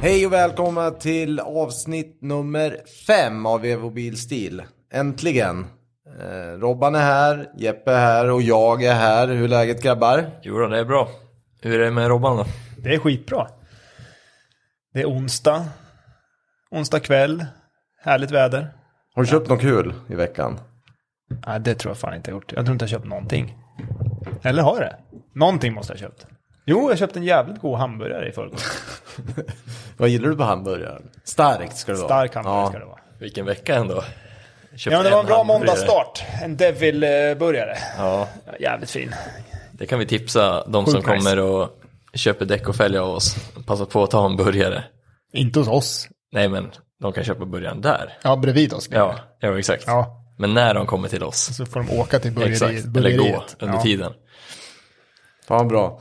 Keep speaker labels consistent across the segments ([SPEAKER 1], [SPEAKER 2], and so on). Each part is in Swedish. [SPEAKER 1] Hej och välkomna till avsnitt nummer fem av Evo Bilstil. Äntligen! Eh, Robban är här, Jeppe är här och jag är här. Hur är läget grabbar?
[SPEAKER 2] Jo då, det är bra. Hur är det med Robban då?
[SPEAKER 3] Det är skitbra. Det är onsdag. Onsdag kväll. Härligt väder.
[SPEAKER 1] Har du köpt något kul i veckan?
[SPEAKER 3] Nej, det tror jag fan inte jag gjort. Jag tror inte jag köpt någonting. Eller har jag det? Någonting måste jag ha köpt. Jo, jag köpte en jävligt god hamburgare i förrgår.
[SPEAKER 1] Vad gillar du på hamburgare? Starkt ska det vara.
[SPEAKER 3] Stark hamburgare ska det vara.
[SPEAKER 2] Vilken vecka ändå. Köpte
[SPEAKER 3] Ja, men det var en bra
[SPEAKER 2] hamburgare.
[SPEAKER 3] måndagsstart. En Devil-burgare.
[SPEAKER 2] Ja,
[SPEAKER 3] Ja, Jävligt fin.
[SPEAKER 2] det kan vi tipsa de som
[SPEAKER 3] Sjukt nice.
[SPEAKER 2] kommer och köper däck och fälgar av oss. Passa på att ta en burgare.
[SPEAKER 3] Inte hos oss.
[SPEAKER 2] Nej, men de kan köpa burgaren där.
[SPEAKER 4] Ja, bredvid oss.
[SPEAKER 2] Ja, ja exakt.
[SPEAKER 4] ja.
[SPEAKER 2] Men när de kommer till oss.
[SPEAKER 4] Så får de åka till
[SPEAKER 2] Exakt,
[SPEAKER 4] burgeriet.
[SPEAKER 2] eller gå
[SPEAKER 4] burgeriet.
[SPEAKER 2] under
[SPEAKER 4] ja.
[SPEAKER 2] tiden.
[SPEAKER 1] Fan bra.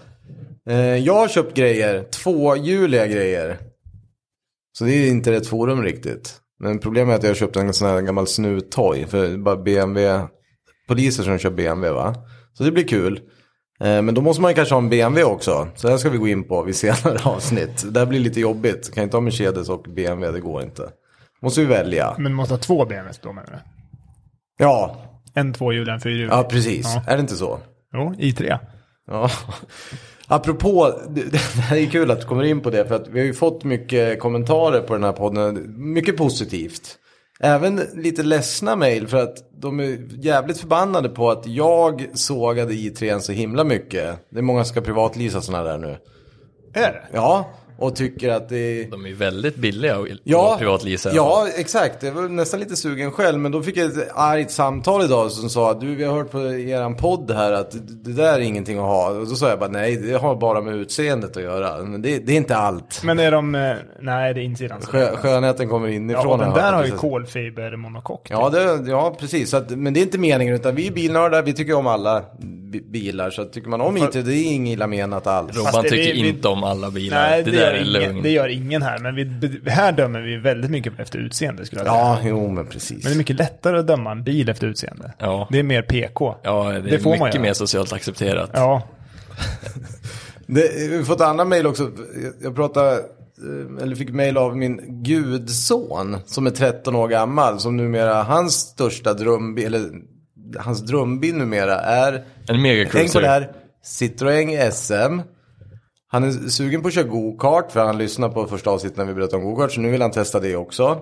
[SPEAKER 1] Eh, jag har köpt grejer, tvåhjuliga grejer. Så det är inte rätt forum riktigt. Men problemet är att jag har köpt en sån här gammal snuttoy. För det är bara BMW, poliser som kör BMW va. Så det blir kul. Eh, men då måste man ju kanske ha en BMW också. Så det här ska vi gå in på vid senare avsnitt. Det här blir lite jobbigt. Kan inte ha Mercedes och BMW, det går inte. Måste vi välja.
[SPEAKER 4] Men du måste ha två BMWs då menar du?
[SPEAKER 1] Ja,
[SPEAKER 3] En tvåhjuling, en fyrhjuling.
[SPEAKER 1] ja precis. Är det inte så?
[SPEAKER 3] Jo, i3.
[SPEAKER 1] Ja. Apropå, det det här är kul att du kommer in på det för att vi har ju fått mycket kommentarer på den här podden. Mycket positivt. Även lite ledsna mejl för att de är jävligt förbannade på att jag sågade i3 så himla mycket. Det är många som ska privatleasa sådana där nu.
[SPEAKER 3] Är det?
[SPEAKER 1] Ja, och tycker att det är...
[SPEAKER 2] De är ju väldigt billiga att
[SPEAKER 1] Ja,
[SPEAKER 2] ja. privatleasa.
[SPEAKER 1] Ja, exakt. Jag var nästan lite sugen själv. Men då fick jag ett argt samtal idag som sa du, vi har hört på eran podd här att det där är ingenting att ha. Och då sa jag bara nej, det har bara med utseendet att göra. Men det, det är inte allt.
[SPEAKER 3] Men är de... eh, Nej, det är insidan. som-
[SPEAKER 1] Skö, skönheten kommer inifrån.
[SPEAKER 3] Ja, och den
[SPEAKER 1] jag hört,
[SPEAKER 3] där har ju
[SPEAKER 1] precis.
[SPEAKER 3] kolfibermonokock.
[SPEAKER 1] Ja, det, ja, precis. Så att, men det är inte meningen, utan vi är bilnördar, vi tycker om alla bi- bilar. Så att, tycker man om IT, det är inget illa menat alls.
[SPEAKER 2] Robban
[SPEAKER 3] Fast det-
[SPEAKER 2] tycker
[SPEAKER 3] vi- vi-
[SPEAKER 2] inte om alla bilar.
[SPEAKER 3] Nej,
[SPEAKER 2] det,
[SPEAKER 3] det,
[SPEAKER 2] där
[SPEAKER 3] gör
[SPEAKER 2] är
[SPEAKER 3] ingen,
[SPEAKER 2] lugnt.
[SPEAKER 3] det gör ingen här. Men vi, här dömer vi väldigt mycket efter utseende skulle jag säga.
[SPEAKER 1] Ja, jo men precis.
[SPEAKER 3] Men det är mycket lättare att döma en bil efter utseende.
[SPEAKER 2] Ja.
[SPEAKER 3] Det är mer PK.
[SPEAKER 2] Ja, det är
[SPEAKER 3] Det får man
[SPEAKER 2] mycket
[SPEAKER 3] göra.
[SPEAKER 2] mer socialt accepterat.
[SPEAKER 3] Ja.
[SPEAKER 1] Det, vi har fått andra mejl också. Jag pratade, eh, eller fick mejl av min gudson som är 13 år gammal. Som numera, hans största drömbil, eller hans drömbil numera är,
[SPEAKER 2] En
[SPEAKER 1] tänk på det
[SPEAKER 2] megacruiser.
[SPEAKER 1] här, Citroën SM. Han är sugen på att köra go-kart för han lyssnade på första avsnittet när vi berättade om go-kart. Så nu vill han testa det också.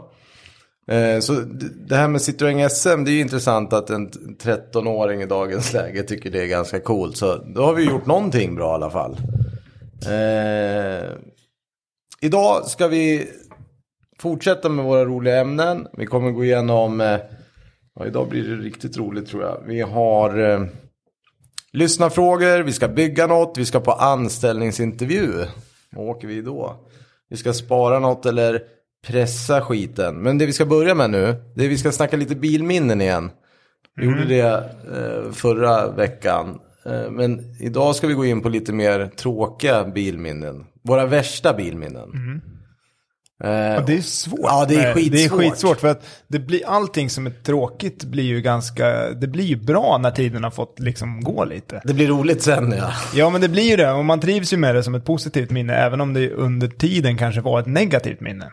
[SPEAKER 1] Eh, Så d- det här med Citroën SM, det är ju intressant att en t- 13-åring i dagens läge tycker det är ganska coolt. Så då har vi gjort någonting bra i alla fall. Eh, idag ska vi fortsätta med våra roliga ämnen. Vi kommer gå igenom, eh, ja, idag blir det riktigt roligt tror jag. Vi har eh, lyssnarfrågor, vi ska bygga något, vi ska på anställningsintervju. Vad åker vi då? Vi ska spara något eller pressa skiten. Men det vi ska börja med nu, det är vi ska snacka lite bilminnen igen. Vi
[SPEAKER 3] Mm.
[SPEAKER 1] gjorde det eh, förra veckan. Eh, men idag ska vi gå in på lite mer tråkiga bilminnen. Våra värsta bilminnen. Eh,
[SPEAKER 3] Och Mm. det är svårt.
[SPEAKER 1] Ja, det är
[SPEAKER 3] med- Det är
[SPEAKER 1] skitsvårt.
[SPEAKER 3] skitsvårt för att det blir, allting som är tråkigt blir ju ganska, det blir ju bra när tiden har fått liksom gå lite.
[SPEAKER 1] det blir roligt sen ja.
[SPEAKER 3] Ja men det blir ju det och man trivs ju med det som ett positivt minne även om det under tiden kanske var ett negativt minne.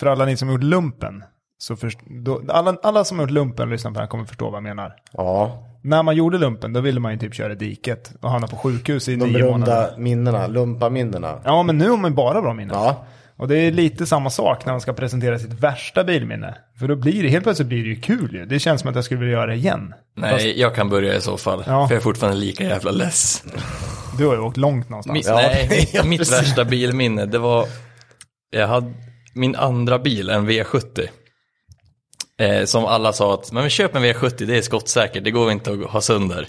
[SPEAKER 3] För alla ni som gjort lumpen, så först, då, alla, alla som har gjort lumpen och lyssnat på det här kommer förstå vad jag menar.
[SPEAKER 1] Ja,
[SPEAKER 3] När man gjorde lumpen då ville man ju typ köra i diket och hamna på sjukhus i
[SPEAKER 1] de
[SPEAKER 3] nio månader.
[SPEAKER 1] berömda minnena, lumpaminnena.
[SPEAKER 3] Ja men nu har man ju bara bra minnen.
[SPEAKER 1] Ja.
[SPEAKER 3] Och det är lite samma sak när man ska presentera sitt värsta bilminne. För då blir det, helt plötsligt blir det ju kul ju. Det känns som att jag skulle vilja göra det igen.
[SPEAKER 2] Nej, jag kan börja i så fall.
[SPEAKER 3] Ja.
[SPEAKER 2] För jag är fortfarande lika jävla less.
[SPEAKER 3] Du har ju åkt långt någonstans.
[SPEAKER 2] Mi- Nej, mitt, mitt värsta bilminne, det var... Jag hade min andra bil, en V70. Eh, som alla sa att, men köp en V70, det är skottsäkert, det går inte att ha sönder.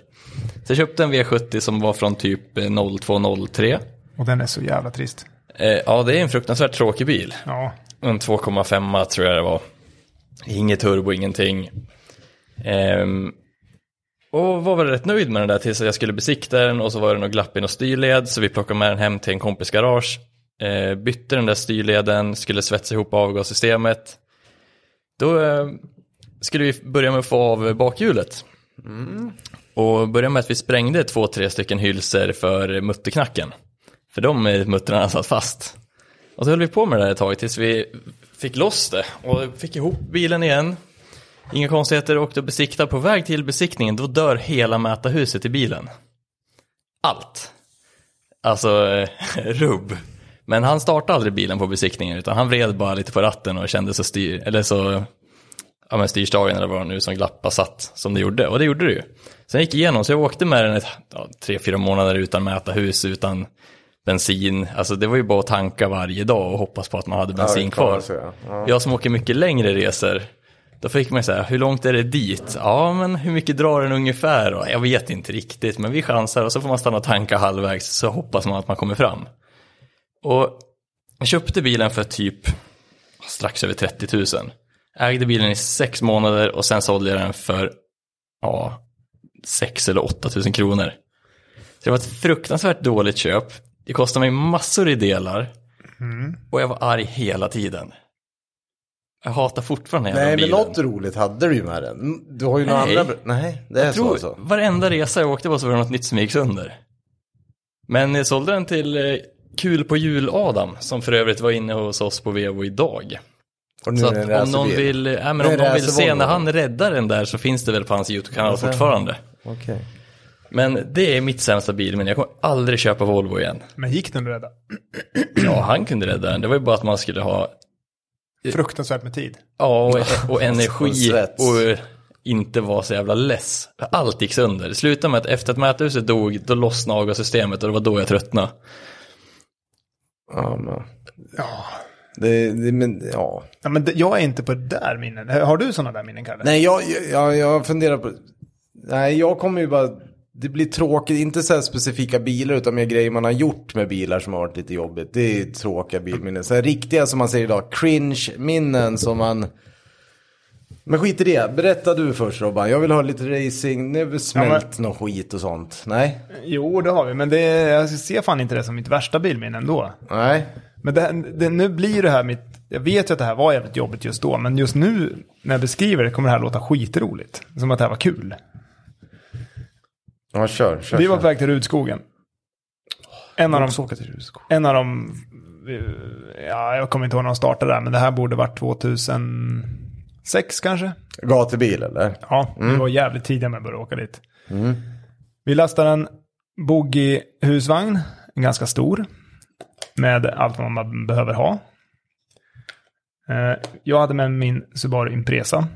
[SPEAKER 2] Så jag köpte en V70 som var från typ eh, 0203.
[SPEAKER 3] Och den är så jävla trist.
[SPEAKER 2] Eh, ja, det är en fruktansvärt tråkig bil.
[SPEAKER 3] Ja.
[SPEAKER 2] En 2,5 tror jag det var. Inget turbo, ingenting. Ehm, och var väl rätt nöjd med den där tills jag skulle besikta den och så var det något glapp i någon styrled så vi plockade med den hem till en kompis garage. Eh, bytte den där styrleden, skulle svetsa ihop avgassystemet. Då eh, skulle vi börja med att få av bakhjulet. Och börja med att vi sprängde två, tre stycken hylsor för mutterknacken. För de eh, muttrarna satt fast. Och så höll vi på med det där ett tag tills vi fick loss det och fick ihop bilen igen. Inga konstigheter, åkte och besiktade. På väg till besiktningen, då dör hela mätarhuset i bilen. Allt. Alltså, eh, rubb. Men han startade aldrig bilen på besiktningen, utan han vred bara lite på ratten och kände så styr, eller så, ja men styrstagen eller vad det nu som glappa satt, som det gjorde. Och det gjorde det ju. Sen gick jag igenom, så jag åkte med den ett, ja, tre, fyra månader utan mätarhus, utan bensin. Alltså det var ju bara att tanka varje dag och hoppas på att man hade bensin kvar.
[SPEAKER 1] så ja. Ja.
[SPEAKER 2] Jag som åker mycket längre resor, då fick man säga, hur långt är det dit? Ja, men hur mycket drar den ungefär? Och jag vet inte riktigt, men vi chansar och så får man stanna och tanka halvvägs så hoppas man att man kommer fram. Och jag köpte bilen för typ strax över 30 000. Ägde bilen i sex månader och sen sålde jag den för ja, 6 eller 8 000 kronor. Så det var ett fruktansvärt dåligt köp. Det kostade mig massor i delar
[SPEAKER 1] Mm.
[SPEAKER 2] och jag var arg hela tiden. Jag hatar fortfarande den här
[SPEAKER 1] Nej, men
[SPEAKER 2] bilen.
[SPEAKER 1] något roligt hade du ju med den. Du har ju några
[SPEAKER 2] Nej.
[SPEAKER 1] andra... Nej, det är
[SPEAKER 2] Jag
[SPEAKER 1] så
[SPEAKER 2] tror
[SPEAKER 1] alltså.
[SPEAKER 2] varenda resa jag åkte på så var det något nytt som gick sönder. Men jag sålde den till eh, Kul på jul-Adam, som för övrigt var inne hos oss på Vevo idag.
[SPEAKER 1] Och nu
[SPEAKER 2] Så
[SPEAKER 1] är det en
[SPEAKER 2] att om någon
[SPEAKER 1] racerbil.
[SPEAKER 2] vill, äh,
[SPEAKER 1] Nu
[SPEAKER 2] men
[SPEAKER 1] är
[SPEAKER 2] om
[SPEAKER 1] det
[SPEAKER 2] någon vill se
[SPEAKER 1] racervolvo.
[SPEAKER 2] när han räddar den där så finns det väl på hans YouTube-kanal fortfarande.
[SPEAKER 1] Okej.
[SPEAKER 2] Men det är mitt sämsta bil, men jag kommer aldrig köpa Volvo igen.
[SPEAKER 3] Men gick den att rädda?
[SPEAKER 2] Ja, han kunde rädda den. Det var ju bara att man skulle ha
[SPEAKER 3] Fruktansvärt med tid.
[SPEAKER 2] Ja, och, och energi
[SPEAKER 1] svets.
[SPEAKER 2] och inte vara så jävla less. Allt gick sönder. Det slutade med att efter att mäthuset dog, då lossnade avgassystemet och det var då jag tröttnade.
[SPEAKER 1] Ja, men... Det, det, men, ja.
[SPEAKER 3] Ja, men det- jag är inte på det där minnen. Har du sådana där minnen, Kalle?
[SPEAKER 1] Nej, jag, jag, jag funderar på... Nej, jag kommer ju bara... Det blir tråkigt, inte så här specifika bilar utan mer grejer man har gjort med bilar som har varit lite jobbigt. Det är tråkiga bilminnen. Så här riktiga som man säger idag, cringe-minnen som man... Men skit i det, berätta du först Robban. Jag vill ha lite racing, nu är väl smält någon skit och sånt. Nej?
[SPEAKER 3] Jo, det har vi, men det, jag ser fan inte det som mitt värsta bilminne ändå.
[SPEAKER 1] Nej.
[SPEAKER 3] Men det, det, nu blir det här mitt... Jag vet ju att det här var jävligt jobbigt just då, men just nu när jag beskriver det kommer det här låta skitroligt. Som att det här var kul.
[SPEAKER 1] Ja, kör, kör.
[SPEAKER 3] Vi var på väg till Rudskogen. En av, de,
[SPEAKER 1] åka till Rusko.
[SPEAKER 3] en av de... eh, Ja, jag kommer inte ihåg när de startade där, men det här borde varit 2006 kanske.
[SPEAKER 1] Gatubil eller?
[SPEAKER 3] Ja, vi var jävligt tidiga med att börja åka dit. Vi lastade en boogie-husvagn, en ganska stor, med allt vad man behöver ha. Eh, Jag hade med min Subaru Impresa.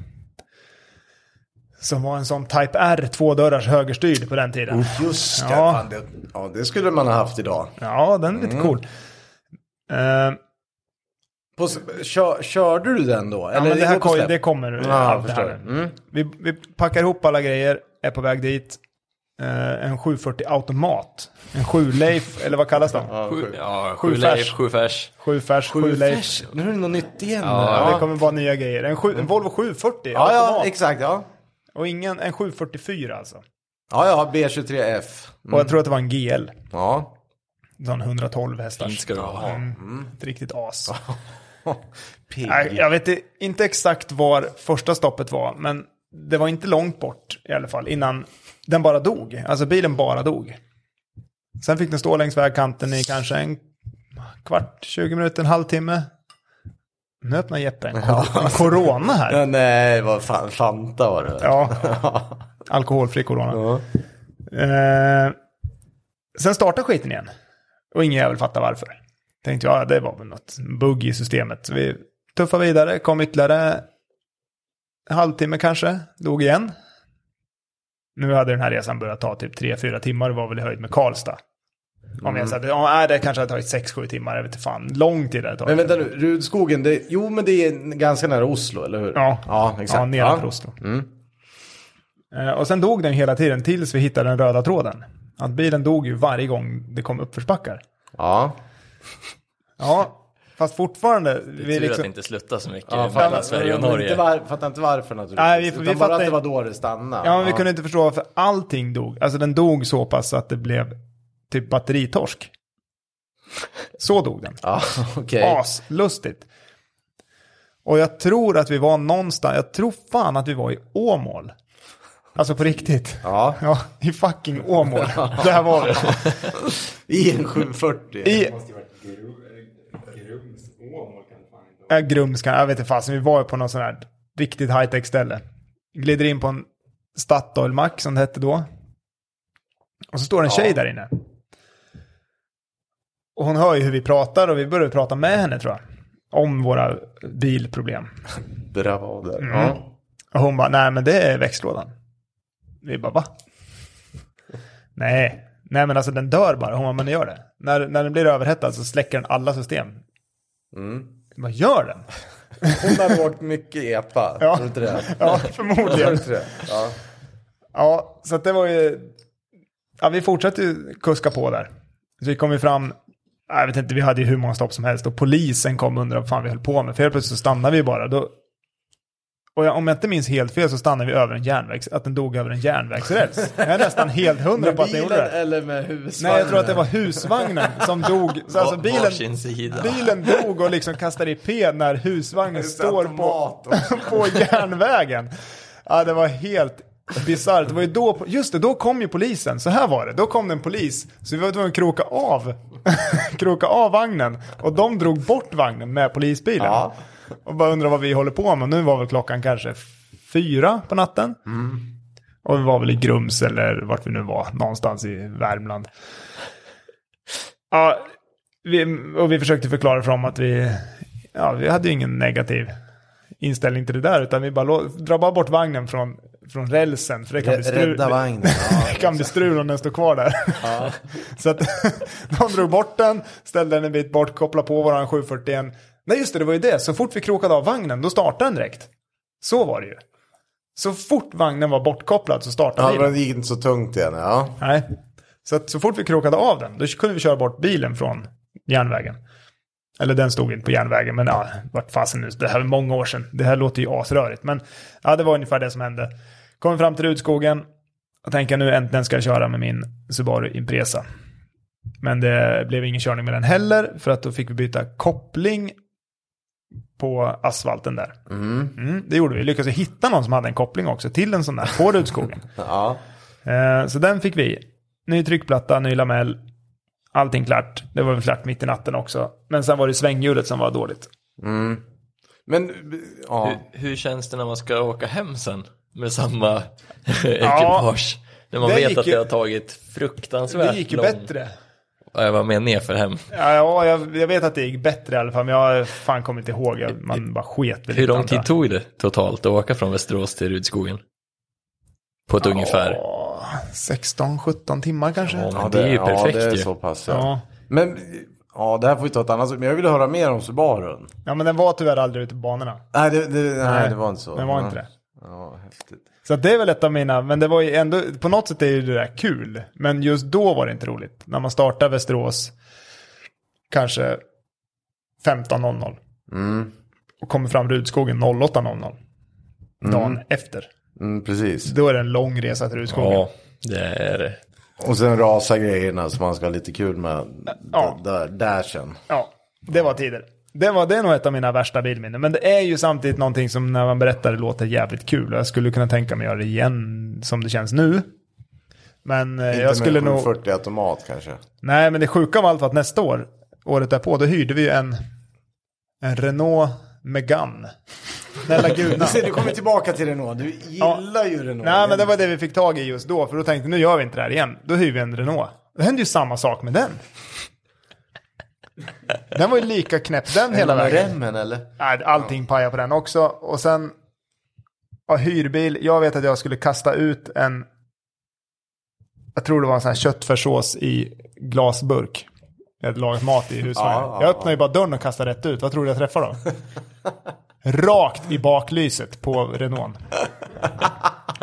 [SPEAKER 3] Som var en sån Type R, tvådörrars högerstyrd på den tiden.
[SPEAKER 1] Just det,
[SPEAKER 3] Ja.
[SPEAKER 1] fan, det, ja, det skulle man ha haft idag.
[SPEAKER 3] Ja, den är lite cool. Eh,
[SPEAKER 1] På, kör, körde du den då?
[SPEAKER 3] Ja, men det, här
[SPEAKER 1] går på
[SPEAKER 3] kom,
[SPEAKER 1] släpp?
[SPEAKER 3] det kommer.
[SPEAKER 1] Ja,
[SPEAKER 3] allt det
[SPEAKER 1] förstår. Mm.
[SPEAKER 3] här. Vi, vi packar ihop alla grejer, är på väg dit. Eh, en 740 automat. En 7 Leif, eller vad kallas de?
[SPEAKER 2] Sju, ja,
[SPEAKER 3] sju
[SPEAKER 2] sju
[SPEAKER 3] färs.
[SPEAKER 2] Leif, sju färs.
[SPEAKER 3] 7 färs, 7 Leif.
[SPEAKER 1] Färs. Nu är det något nytt igen.
[SPEAKER 3] Ja, det
[SPEAKER 1] Ja,
[SPEAKER 3] kommer vara nya grejer. En, sju, en Volvo 740
[SPEAKER 1] ja, ja
[SPEAKER 3] automat.
[SPEAKER 1] exakt. Ja.
[SPEAKER 3] Och ingen, en 744 alltså.
[SPEAKER 1] ja, ja, B23F.
[SPEAKER 3] Och jag tror att det var en GL.
[SPEAKER 1] Ja.
[SPEAKER 3] Sån 112 hästar.
[SPEAKER 2] Fint ska det vara.
[SPEAKER 1] Mm.
[SPEAKER 3] Ett riktigt as.
[SPEAKER 1] Pigg.
[SPEAKER 3] Nej, Jag vet i- inte exakt var första stoppet var, men det var inte långt bort i alla fall innan den bara dog. Alltså bilen bara dog. Sen fick den stå längs vägkanten i kanske en kvart, 20 minuter, en halvtimme. Nu öppnar Jeppe en, kor- en corona här.
[SPEAKER 1] Ja, nej, vad fan, Fanta var det.
[SPEAKER 3] Ja, alkoholfri corona. Eh, sen startar skiten igen. Och ingen jävel fattar varför. Tänkte jag, ja, det var väl något bugg i systemet. Så vi tuffar vidare, kom ytterligare en halvtimme kanske, dog igen. Nu hade den här resan börjat ta typ 3-4 timmar, det var väl i höjd med Karlstad. Om jag sa att ja, nej, det kanske hade tagit 6-7 timmar, jag vet inte fan, lång tid hade det
[SPEAKER 1] Men
[SPEAKER 3] tagit.
[SPEAKER 1] vänta nu, Rudskogen, det, jo men det är ganska nära Oslo, eller hur?
[SPEAKER 3] Ja,
[SPEAKER 1] ja exakt.
[SPEAKER 3] Ja, nedanför Oslo. Eh, Och sen dog den hela tiden tills vi hittade den röda tråden. Att bilen dog ju varje gång det kom uppförsbackar.
[SPEAKER 1] Ja.
[SPEAKER 3] Ja, fast fortfarande. Vi
[SPEAKER 2] Tur att det
[SPEAKER 3] liksom,
[SPEAKER 2] inte sluttar så mycket
[SPEAKER 1] ja
[SPEAKER 2] mellan Sverige och
[SPEAKER 1] men Inte
[SPEAKER 2] Norge.
[SPEAKER 1] var, fattar inte varför naturligtvis.
[SPEAKER 3] Nej, vi- vi
[SPEAKER 1] Utan bara
[SPEAKER 3] fattar
[SPEAKER 1] att det
[SPEAKER 3] inte.
[SPEAKER 1] var då det stannade.
[SPEAKER 3] ja, men vi kunde inte förstå varför allting dog. Alltså den dog så pass att det blev typ batteritorsk. Så dog den.
[SPEAKER 1] Ja, okej.
[SPEAKER 3] Aslustigt. Och jag tror att vi var någonstans, jag tror fan att vi var i Åmål. Alltså på riktigt.
[SPEAKER 1] Ja.
[SPEAKER 3] Ja, i fucking Åmål. Där var vi.
[SPEAKER 1] I en 740.
[SPEAKER 3] I,
[SPEAKER 5] Grums, Åmål kan fan inte
[SPEAKER 3] Ja, Grumskan, Äh, jag vet inte fasen, vi var ju på någon sån här riktigt high-tech ställe. Glider in på en Statoil-mack som det hette då. Och så står det en tjej där inne. Och hon hör ju hur vi pratar och vi börjar prata med henne tror jag. Om våra bilproblem.
[SPEAKER 1] Bravader.
[SPEAKER 3] Mm.
[SPEAKER 1] Ja.
[SPEAKER 3] Och hon bara, nej men det är växtlådan. Vi bara, va? nej. Nej men alltså den dör bara. Hon bara, men den gör det. När, när den blir överhettad så släcker den alla system.
[SPEAKER 1] Mm.
[SPEAKER 3] Vad gör den?
[SPEAKER 1] Hon har åkt mycket epa.
[SPEAKER 3] Ja.
[SPEAKER 1] Tror du inte det?
[SPEAKER 3] Ja,
[SPEAKER 1] Tror du
[SPEAKER 3] förmodligen.
[SPEAKER 1] inte det? Ja.
[SPEAKER 3] Ja, så att det var ju... Ja, vi fortsatte ju kuska på där. Så vi kom ju fram, jag vet inte, vi hade ju hur många stopp som helst och polisen kom och undrade vad fan vi höll på med. För helt plötsligt så stannade vi bara. Då, och jag, om jag inte minns helt fel så stannade vi över en järnvägs, att den dog över en järnvägsräls. Jag är nästan helt hundra
[SPEAKER 1] Med
[SPEAKER 3] på att den
[SPEAKER 1] bilen
[SPEAKER 3] gjorde det.
[SPEAKER 1] eller med husvagnen?
[SPEAKER 3] Nej, jag tror att det var husvagnen som dog. Så alltså bilen,
[SPEAKER 2] Varsin sida.
[SPEAKER 3] bilen dog och liksom kastade i p när husvagnen
[SPEAKER 1] Just
[SPEAKER 3] står på
[SPEAKER 1] automat och-
[SPEAKER 3] på järnvägen. Ja, det var helt bisarrt. Det var ju då, just det, då kom ju polisen. Så här var det, då kom det en polis. Så vi var tvungna att kroka av, kroka av vagnen. Och de drog bort vagnen med polisbilen.
[SPEAKER 1] Ja.
[SPEAKER 3] Och bara undrar vad vi håller på med. Nu var väl klockan kanske fyra på natten.
[SPEAKER 1] Mm.
[SPEAKER 3] Och vi var väl i Grums eller vart vi nu var, någonstans i Värmland. Ja, vi, och vi försökte förklara för dem att vi, ja, vi hade ju ingen negativ inställning till det där, utan vi bara lå- drar bara bort vagnen från, från rälsen, för det kan bli strul.
[SPEAKER 1] Rädda
[SPEAKER 3] Det,
[SPEAKER 1] vagnen. Ja.
[SPEAKER 3] det kan bli strul om den står kvar där. Så att de drog bort den, ställde den en bit bort, kopplade på våran 741. Nej, just det, det var ju det. Så fort vi krokade av vagnen, då startade den direkt. Så var det ju. Så fort vagnen var bortkopplad så startade
[SPEAKER 1] Ja,
[SPEAKER 3] bilen.
[SPEAKER 1] men det gick inte så tungt igen. Ja.
[SPEAKER 3] Nej. Så att så fort vi krokade av den, då kunde vi köra bort bilen från järnvägen. Eller den stod inte på järnvägen, men ja, vart fasen nu, det här är många år sedan. Det här låter ju asrörigt, men ja, det var ungefär det som hände. Kom fram till Rudskogen och tänkte nu äntligen ska jag köra med min Subaru Impresa. Men det blev ingen körning med den heller, för att då fick vi byta koppling på asfalten där. Mm, det gjorde vi, lyckades hitta någon som hade en koppling också till en sån där på Rudskogen.
[SPEAKER 1] Ja.
[SPEAKER 3] Eh, Så den fick vi. Ny tryckplatta, ny lamell. Allting klart. Det var väl klart mitt i natten också. Men sen var det svänghjulet som var dåligt.
[SPEAKER 1] Mm. Men, ja.
[SPEAKER 2] Hur, hur känns det när man ska åka hem sen med samma ekipage? När man
[SPEAKER 3] det
[SPEAKER 2] vet
[SPEAKER 3] gick
[SPEAKER 2] att
[SPEAKER 3] ju-
[SPEAKER 2] det har tagit fruktansvärt
[SPEAKER 3] Det gick ju
[SPEAKER 2] lång-
[SPEAKER 3] bättre.
[SPEAKER 2] Ja, Jag var med ner för hem.
[SPEAKER 3] Ja, ja jag, jag vet att det gick bättre i alla fall, men jag har fan kommer inte ihåg. Jag, man bara sket väl
[SPEAKER 2] Hur
[SPEAKER 3] lite,
[SPEAKER 2] lång
[SPEAKER 3] antar
[SPEAKER 2] tid
[SPEAKER 3] jag.
[SPEAKER 2] tog det totalt att åka från Västerås till Rudskogen? På ett ungefär.
[SPEAKER 3] Åh, 16-17 timmar kanske.
[SPEAKER 2] Ja,
[SPEAKER 3] Ja.
[SPEAKER 2] men det är ju perfekt
[SPEAKER 1] Ja, det är
[SPEAKER 2] ju.
[SPEAKER 1] så pass. Ja. Men, ja, det här får vi ta ett annat Men jag ville höra mer om Subarun.
[SPEAKER 3] men den var tyvärr aldrig ute på banorna.
[SPEAKER 1] Nej, det, det, nej, det var inte så.
[SPEAKER 3] Den var inte det.
[SPEAKER 1] Ja, häftigt.
[SPEAKER 3] Så att det är väl ett av mina, men det var ju ändå, på något sätt är ju det där kul. Men just då var det inte roligt. När man startar Västerås kanske 15.00
[SPEAKER 1] Mm,
[SPEAKER 3] och kommer fram Rudskogen 08.00 dagen efter.
[SPEAKER 1] mm, precis.
[SPEAKER 3] Då är det en lång resa till Rudskogen.
[SPEAKER 2] Ja, det är det.
[SPEAKER 1] Och sen rasa grejerna som man ska ha lite kul med.
[SPEAKER 3] Ja.
[SPEAKER 1] Ja. Där, där sen.
[SPEAKER 3] Ja, det var tider. Det, var, det är nog ett av mina värsta bilminnen. Men det är ju samtidigt någonting som när man berättar det låter jävligt kul. Jag skulle kunna tänka mig att göra det igen som det känns nu. Men eh, jag skulle nog...
[SPEAKER 1] 40 automat kanske.
[SPEAKER 3] Nej, men det sjuka av allt var att nästa år, året därpå, då hyrde vi ju en, en Renault Megane. Snälla gudarna.
[SPEAKER 1] Du kommer tillbaka till Renault. Du gillar ju Renault.
[SPEAKER 3] Nej, men det var det vi fick tag i just då, för då tänkte jag, nu gör vi inte det här igen. Då hyr vi en Renault. Det hände ju samma sak med den. Den var ju lika knäpp den hela
[SPEAKER 1] Hela
[SPEAKER 3] vägen.
[SPEAKER 1] remmen eller?
[SPEAKER 3] Nej, allting pajade på den också. Och sen, ja, hyrbil. Jag vet att jag skulle kasta ut en, jag tror det var en sån här köttfärssås i glasburk. Jag hade lagat mat i husvagnen.
[SPEAKER 1] Ja, ja,
[SPEAKER 3] jag öppnade ju bara dörren och kastade rätt ut. Vad tror du jag träffade då? Rakt i baklyset på Renault.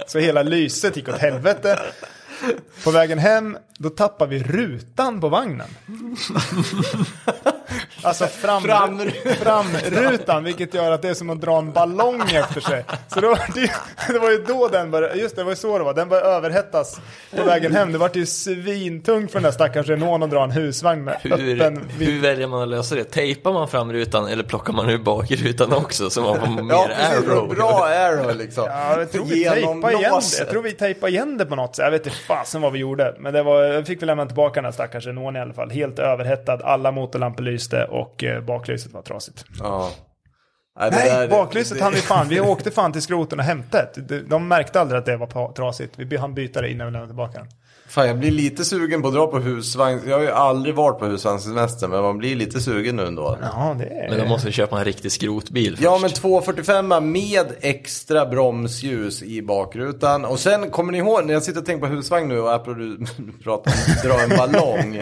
[SPEAKER 3] Så hela lyset gick åt helvete. På vägen hem, då tappade vi rutan på vagnen. Alltså fram, framrutan, vilket gör att det är som att dra en ballong efter sig. Så då, var det, ju- det var ju då den började, just det, det var ju så det var, den började överhettas på vägen hem. Det vart ju svintungt för den där stackars Renault att dra en husvagn med öppen
[SPEAKER 2] Hur,
[SPEAKER 3] vid-
[SPEAKER 2] hur väljer man att lösa det? Tejpar man fram rutan eller plockar man ur bakrutan också så man får mer
[SPEAKER 1] Ja, precis.
[SPEAKER 2] aero?
[SPEAKER 1] Bra arrow liksom.
[SPEAKER 3] Ja, jag tror vi tejpade igen det. Jag tror vi tejpade igen det på något sätt. Jag vet inte fasen vad vi gjorde. Men det var, jag fick vi lämna tillbaka den här stackars Renault i alla fall. Helt överhettad, alla motorlampor lyste. lyste och eh, baklyset var trasigt.
[SPEAKER 1] Ja. Nej, det
[SPEAKER 3] Nej,
[SPEAKER 1] där-
[SPEAKER 3] baklyset
[SPEAKER 1] det-
[SPEAKER 3] hann vi fan. Vi åkte fan till skroten och hämtade det. De- De märkte aldrig att det var pa- trasigt. Vi hann byta det innan vi lämnade tillbaka den.
[SPEAKER 1] Fan, jag blir lite sugen på att dra på husvagn. Jag har ju aldrig varit på husvagnssemester, men man blir lite sugen nu ändå.
[SPEAKER 3] Ja, det är...
[SPEAKER 2] Men då måste vi köpa en riktig skrotbil först.
[SPEAKER 1] Ja, men 245 med extra bromsljus i bakrutan. Och sen kommer ni ihåg, när jag sitter och tänker på husvagn nu och apropå du pratar om att dra en ballong.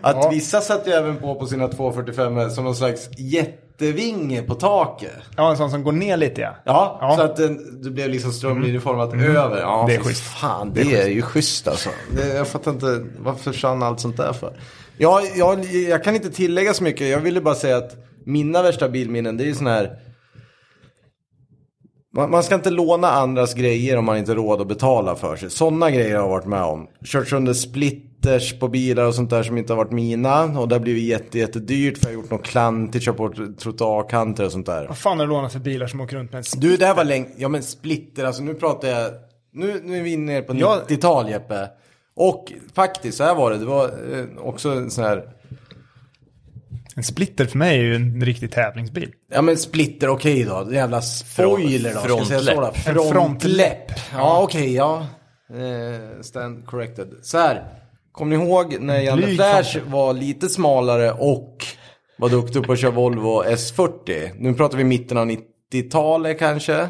[SPEAKER 1] Att vissa satte ju även på på sina 245 som någon slags jättevinge på taket.
[SPEAKER 3] Ja, en sån som går ner lite ja.
[SPEAKER 1] Ja,
[SPEAKER 3] Ja. Mm.
[SPEAKER 1] så att den, det blev liksom strömlinjeformat över. Ja,
[SPEAKER 3] Det är
[SPEAKER 1] fy
[SPEAKER 3] schysst.
[SPEAKER 1] Fan, det, är, ju schysst alltså. Det, jag fattar inte, varför försvann allt sånt där för? Ja, jag, jag kan inte tillägga så mycket. Jag ville bara säga att mina värsta bilminnen, det är ju sån här... Man, man ska inte låna andras grejer om man inte har råd att betala för sig. Sådana grejer har jag varit med om. Kört sönder splitters på bilar och sånt där som inte har varit mina. Och det har blivit jätte, jättedyrt för jag har gjort något klantigt, kört bort trottoarkanter och sånt där.
[SPEAKER 3] Vad fan har du lånat för bilar som åker runt med en s-
[SPEAKER 1] Du, det här var länge. Ja, men splitter. Alltså nu pratar jag. Nu, nu är vi inne på
[SPEAKER 3] Ja.
[SPEAKER 1] 90-tal, Jeppe. Och faktiskt, så här var det. Det var eh, också en sån här.
[SPEAKER 3] En splitter för mig är ju en riktig tävlingsbil.
[SPEAKER 1] Ja, men splitter, okej då. Jävla spoiler då. Ska jag säga så då?
[SPEAKER 2] frontläpp.
[SPEAKER 3] En
[SPEAKER 1] Frontläpp. Ja, okej, ja. Eh, stand corrected. Så här. Kommer ni ihåg när Janne
[SPEAKER 3] Blyg
[SPEAKER 1] Flash var lite smalare och var duktig på att köra Volvo S40? Nu pratar vi mitten av 90-talet kanske.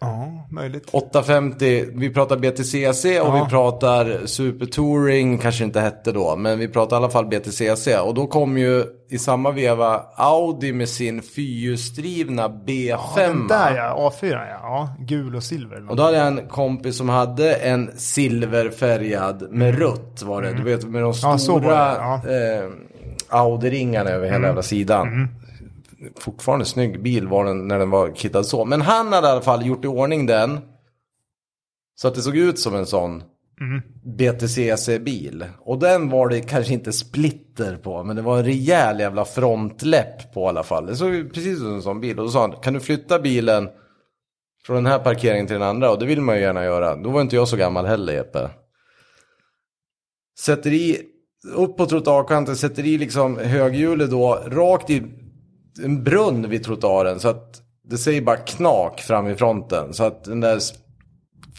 [SPEAKER 3] Ja, möjligt.
[SPEAKER 1] 850, vi pratar BTCC och vi pratar Super Touring, kanske inte hette då, men vi pratar i alla fall BTCC. Och då kom ju i samma veva Audi med sin fyrhjulsdrivna B5.
[SPEAKER 3] Den där ja, A4 ja. ja. Gul och silver.
[SPEAKER 1] Och då hade jag en kompis som hade en silverfärgad med rött var det. Du vet med de
[SPEAKER 3] Mm. Ja, Mm. så var det,
[SPEAKER 1] stora eh, Audi-ringarna över hela jävla sidan. Fortfarande snygg bil var den när den var kittad så. Men han hade i alla fall gjort i ordning den. Så att det såg ut som en sån
[SPEAKER 3] Mm.
[SPEAKER 1] BTCC-bil. Och den var det kanske inte splitter på. Men det var en rejäl jävla frontläpp på i alla fall. Det såg ju precis ut som en sån bil. Och då sa han, kan du flytta bilen från den här parkeringen till den andra och det vill man ju gärna göra. Då var inte jag så gammal heller Jeppe. Sätter i, upp på trottoarkanten, sätter i liksom höghjulet då rakt i en brunn vid trottoaren så att det säger bara knak fram i fronten. Så att den där sp-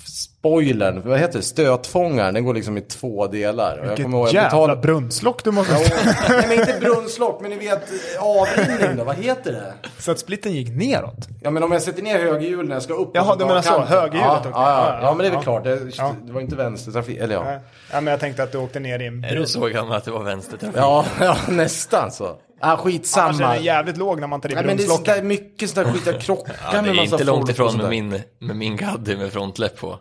[SPEAKER 1] spoilern, vad heter det, stötfångaren, den går liksom i två delar. Och jag
[SPEAKER 3] Vilket
[SPEAKER 1] kommer ihåg, jag
[SPEAKER 3] jävla
[SPEAKER 1] betalade...
[SPEAKER 3] brunnslock du måste ha.
[SPEAKER 1] Nej men inte brunnslock, men ni vet eh, avrinning då, vad heter det?
[SPEAKER 3] Så att splitten gick neråt.
[SPEAKER 1] Ja men om jag sätter ner högerhjulet när jag ska upp. på
[SPEAKER 3] Jaha, du menar så,
[SPEAKER 1] trottoarkanten.
[SPEAKER 3] högerhjulet
[SPEAKER 1] ja,
[SPEAKER 3] åkte.
[SPEAKER 1] ja, ja, ja, men det är väl
[SPEAKER 3] Ja.
[SPEAKER 1] klart. Det,
[SPEAKER 3] Ja.
[SPEAKER 1] det var inte vänstertrafik, eller ja.
[SPEAKER 3] Nej. Ja, men jag tänkte att du åkte ner i en
[SPEAKER 2] Är
[SPEAKER 3] brunn.
[SPEAKER 2] du så gammal att det var vänstertrafik?
[SPEAKER 1] Ja, ja nästan så. Ah,
[SPEAKER 3] Annars är
[SPEAKER 1] skitsamma.
[SPEAKER 3] den jävligt låg när man tar i
[SPEAKER 1] Nej, men det är sånt
[SPEAKER 3] brunnslocket.
[SPEAKER 1] där, mycket sånt där skit. Jag krockar
[SPEAKER 2] Ja, det
[SPEAKER 1] med
[SPEAKER 2] är
[SPEAKER 1] massa
[SPEAKER 2] inte långt
[SPEAKER 1] folk och
[SPEAKER 2] ifrån
[SPEAKER 1] sånt
[SPEAKER 2] med
[SPEAKER 1] där.
[SPEAKER 2] min, med min Gaddi med frontläpp på.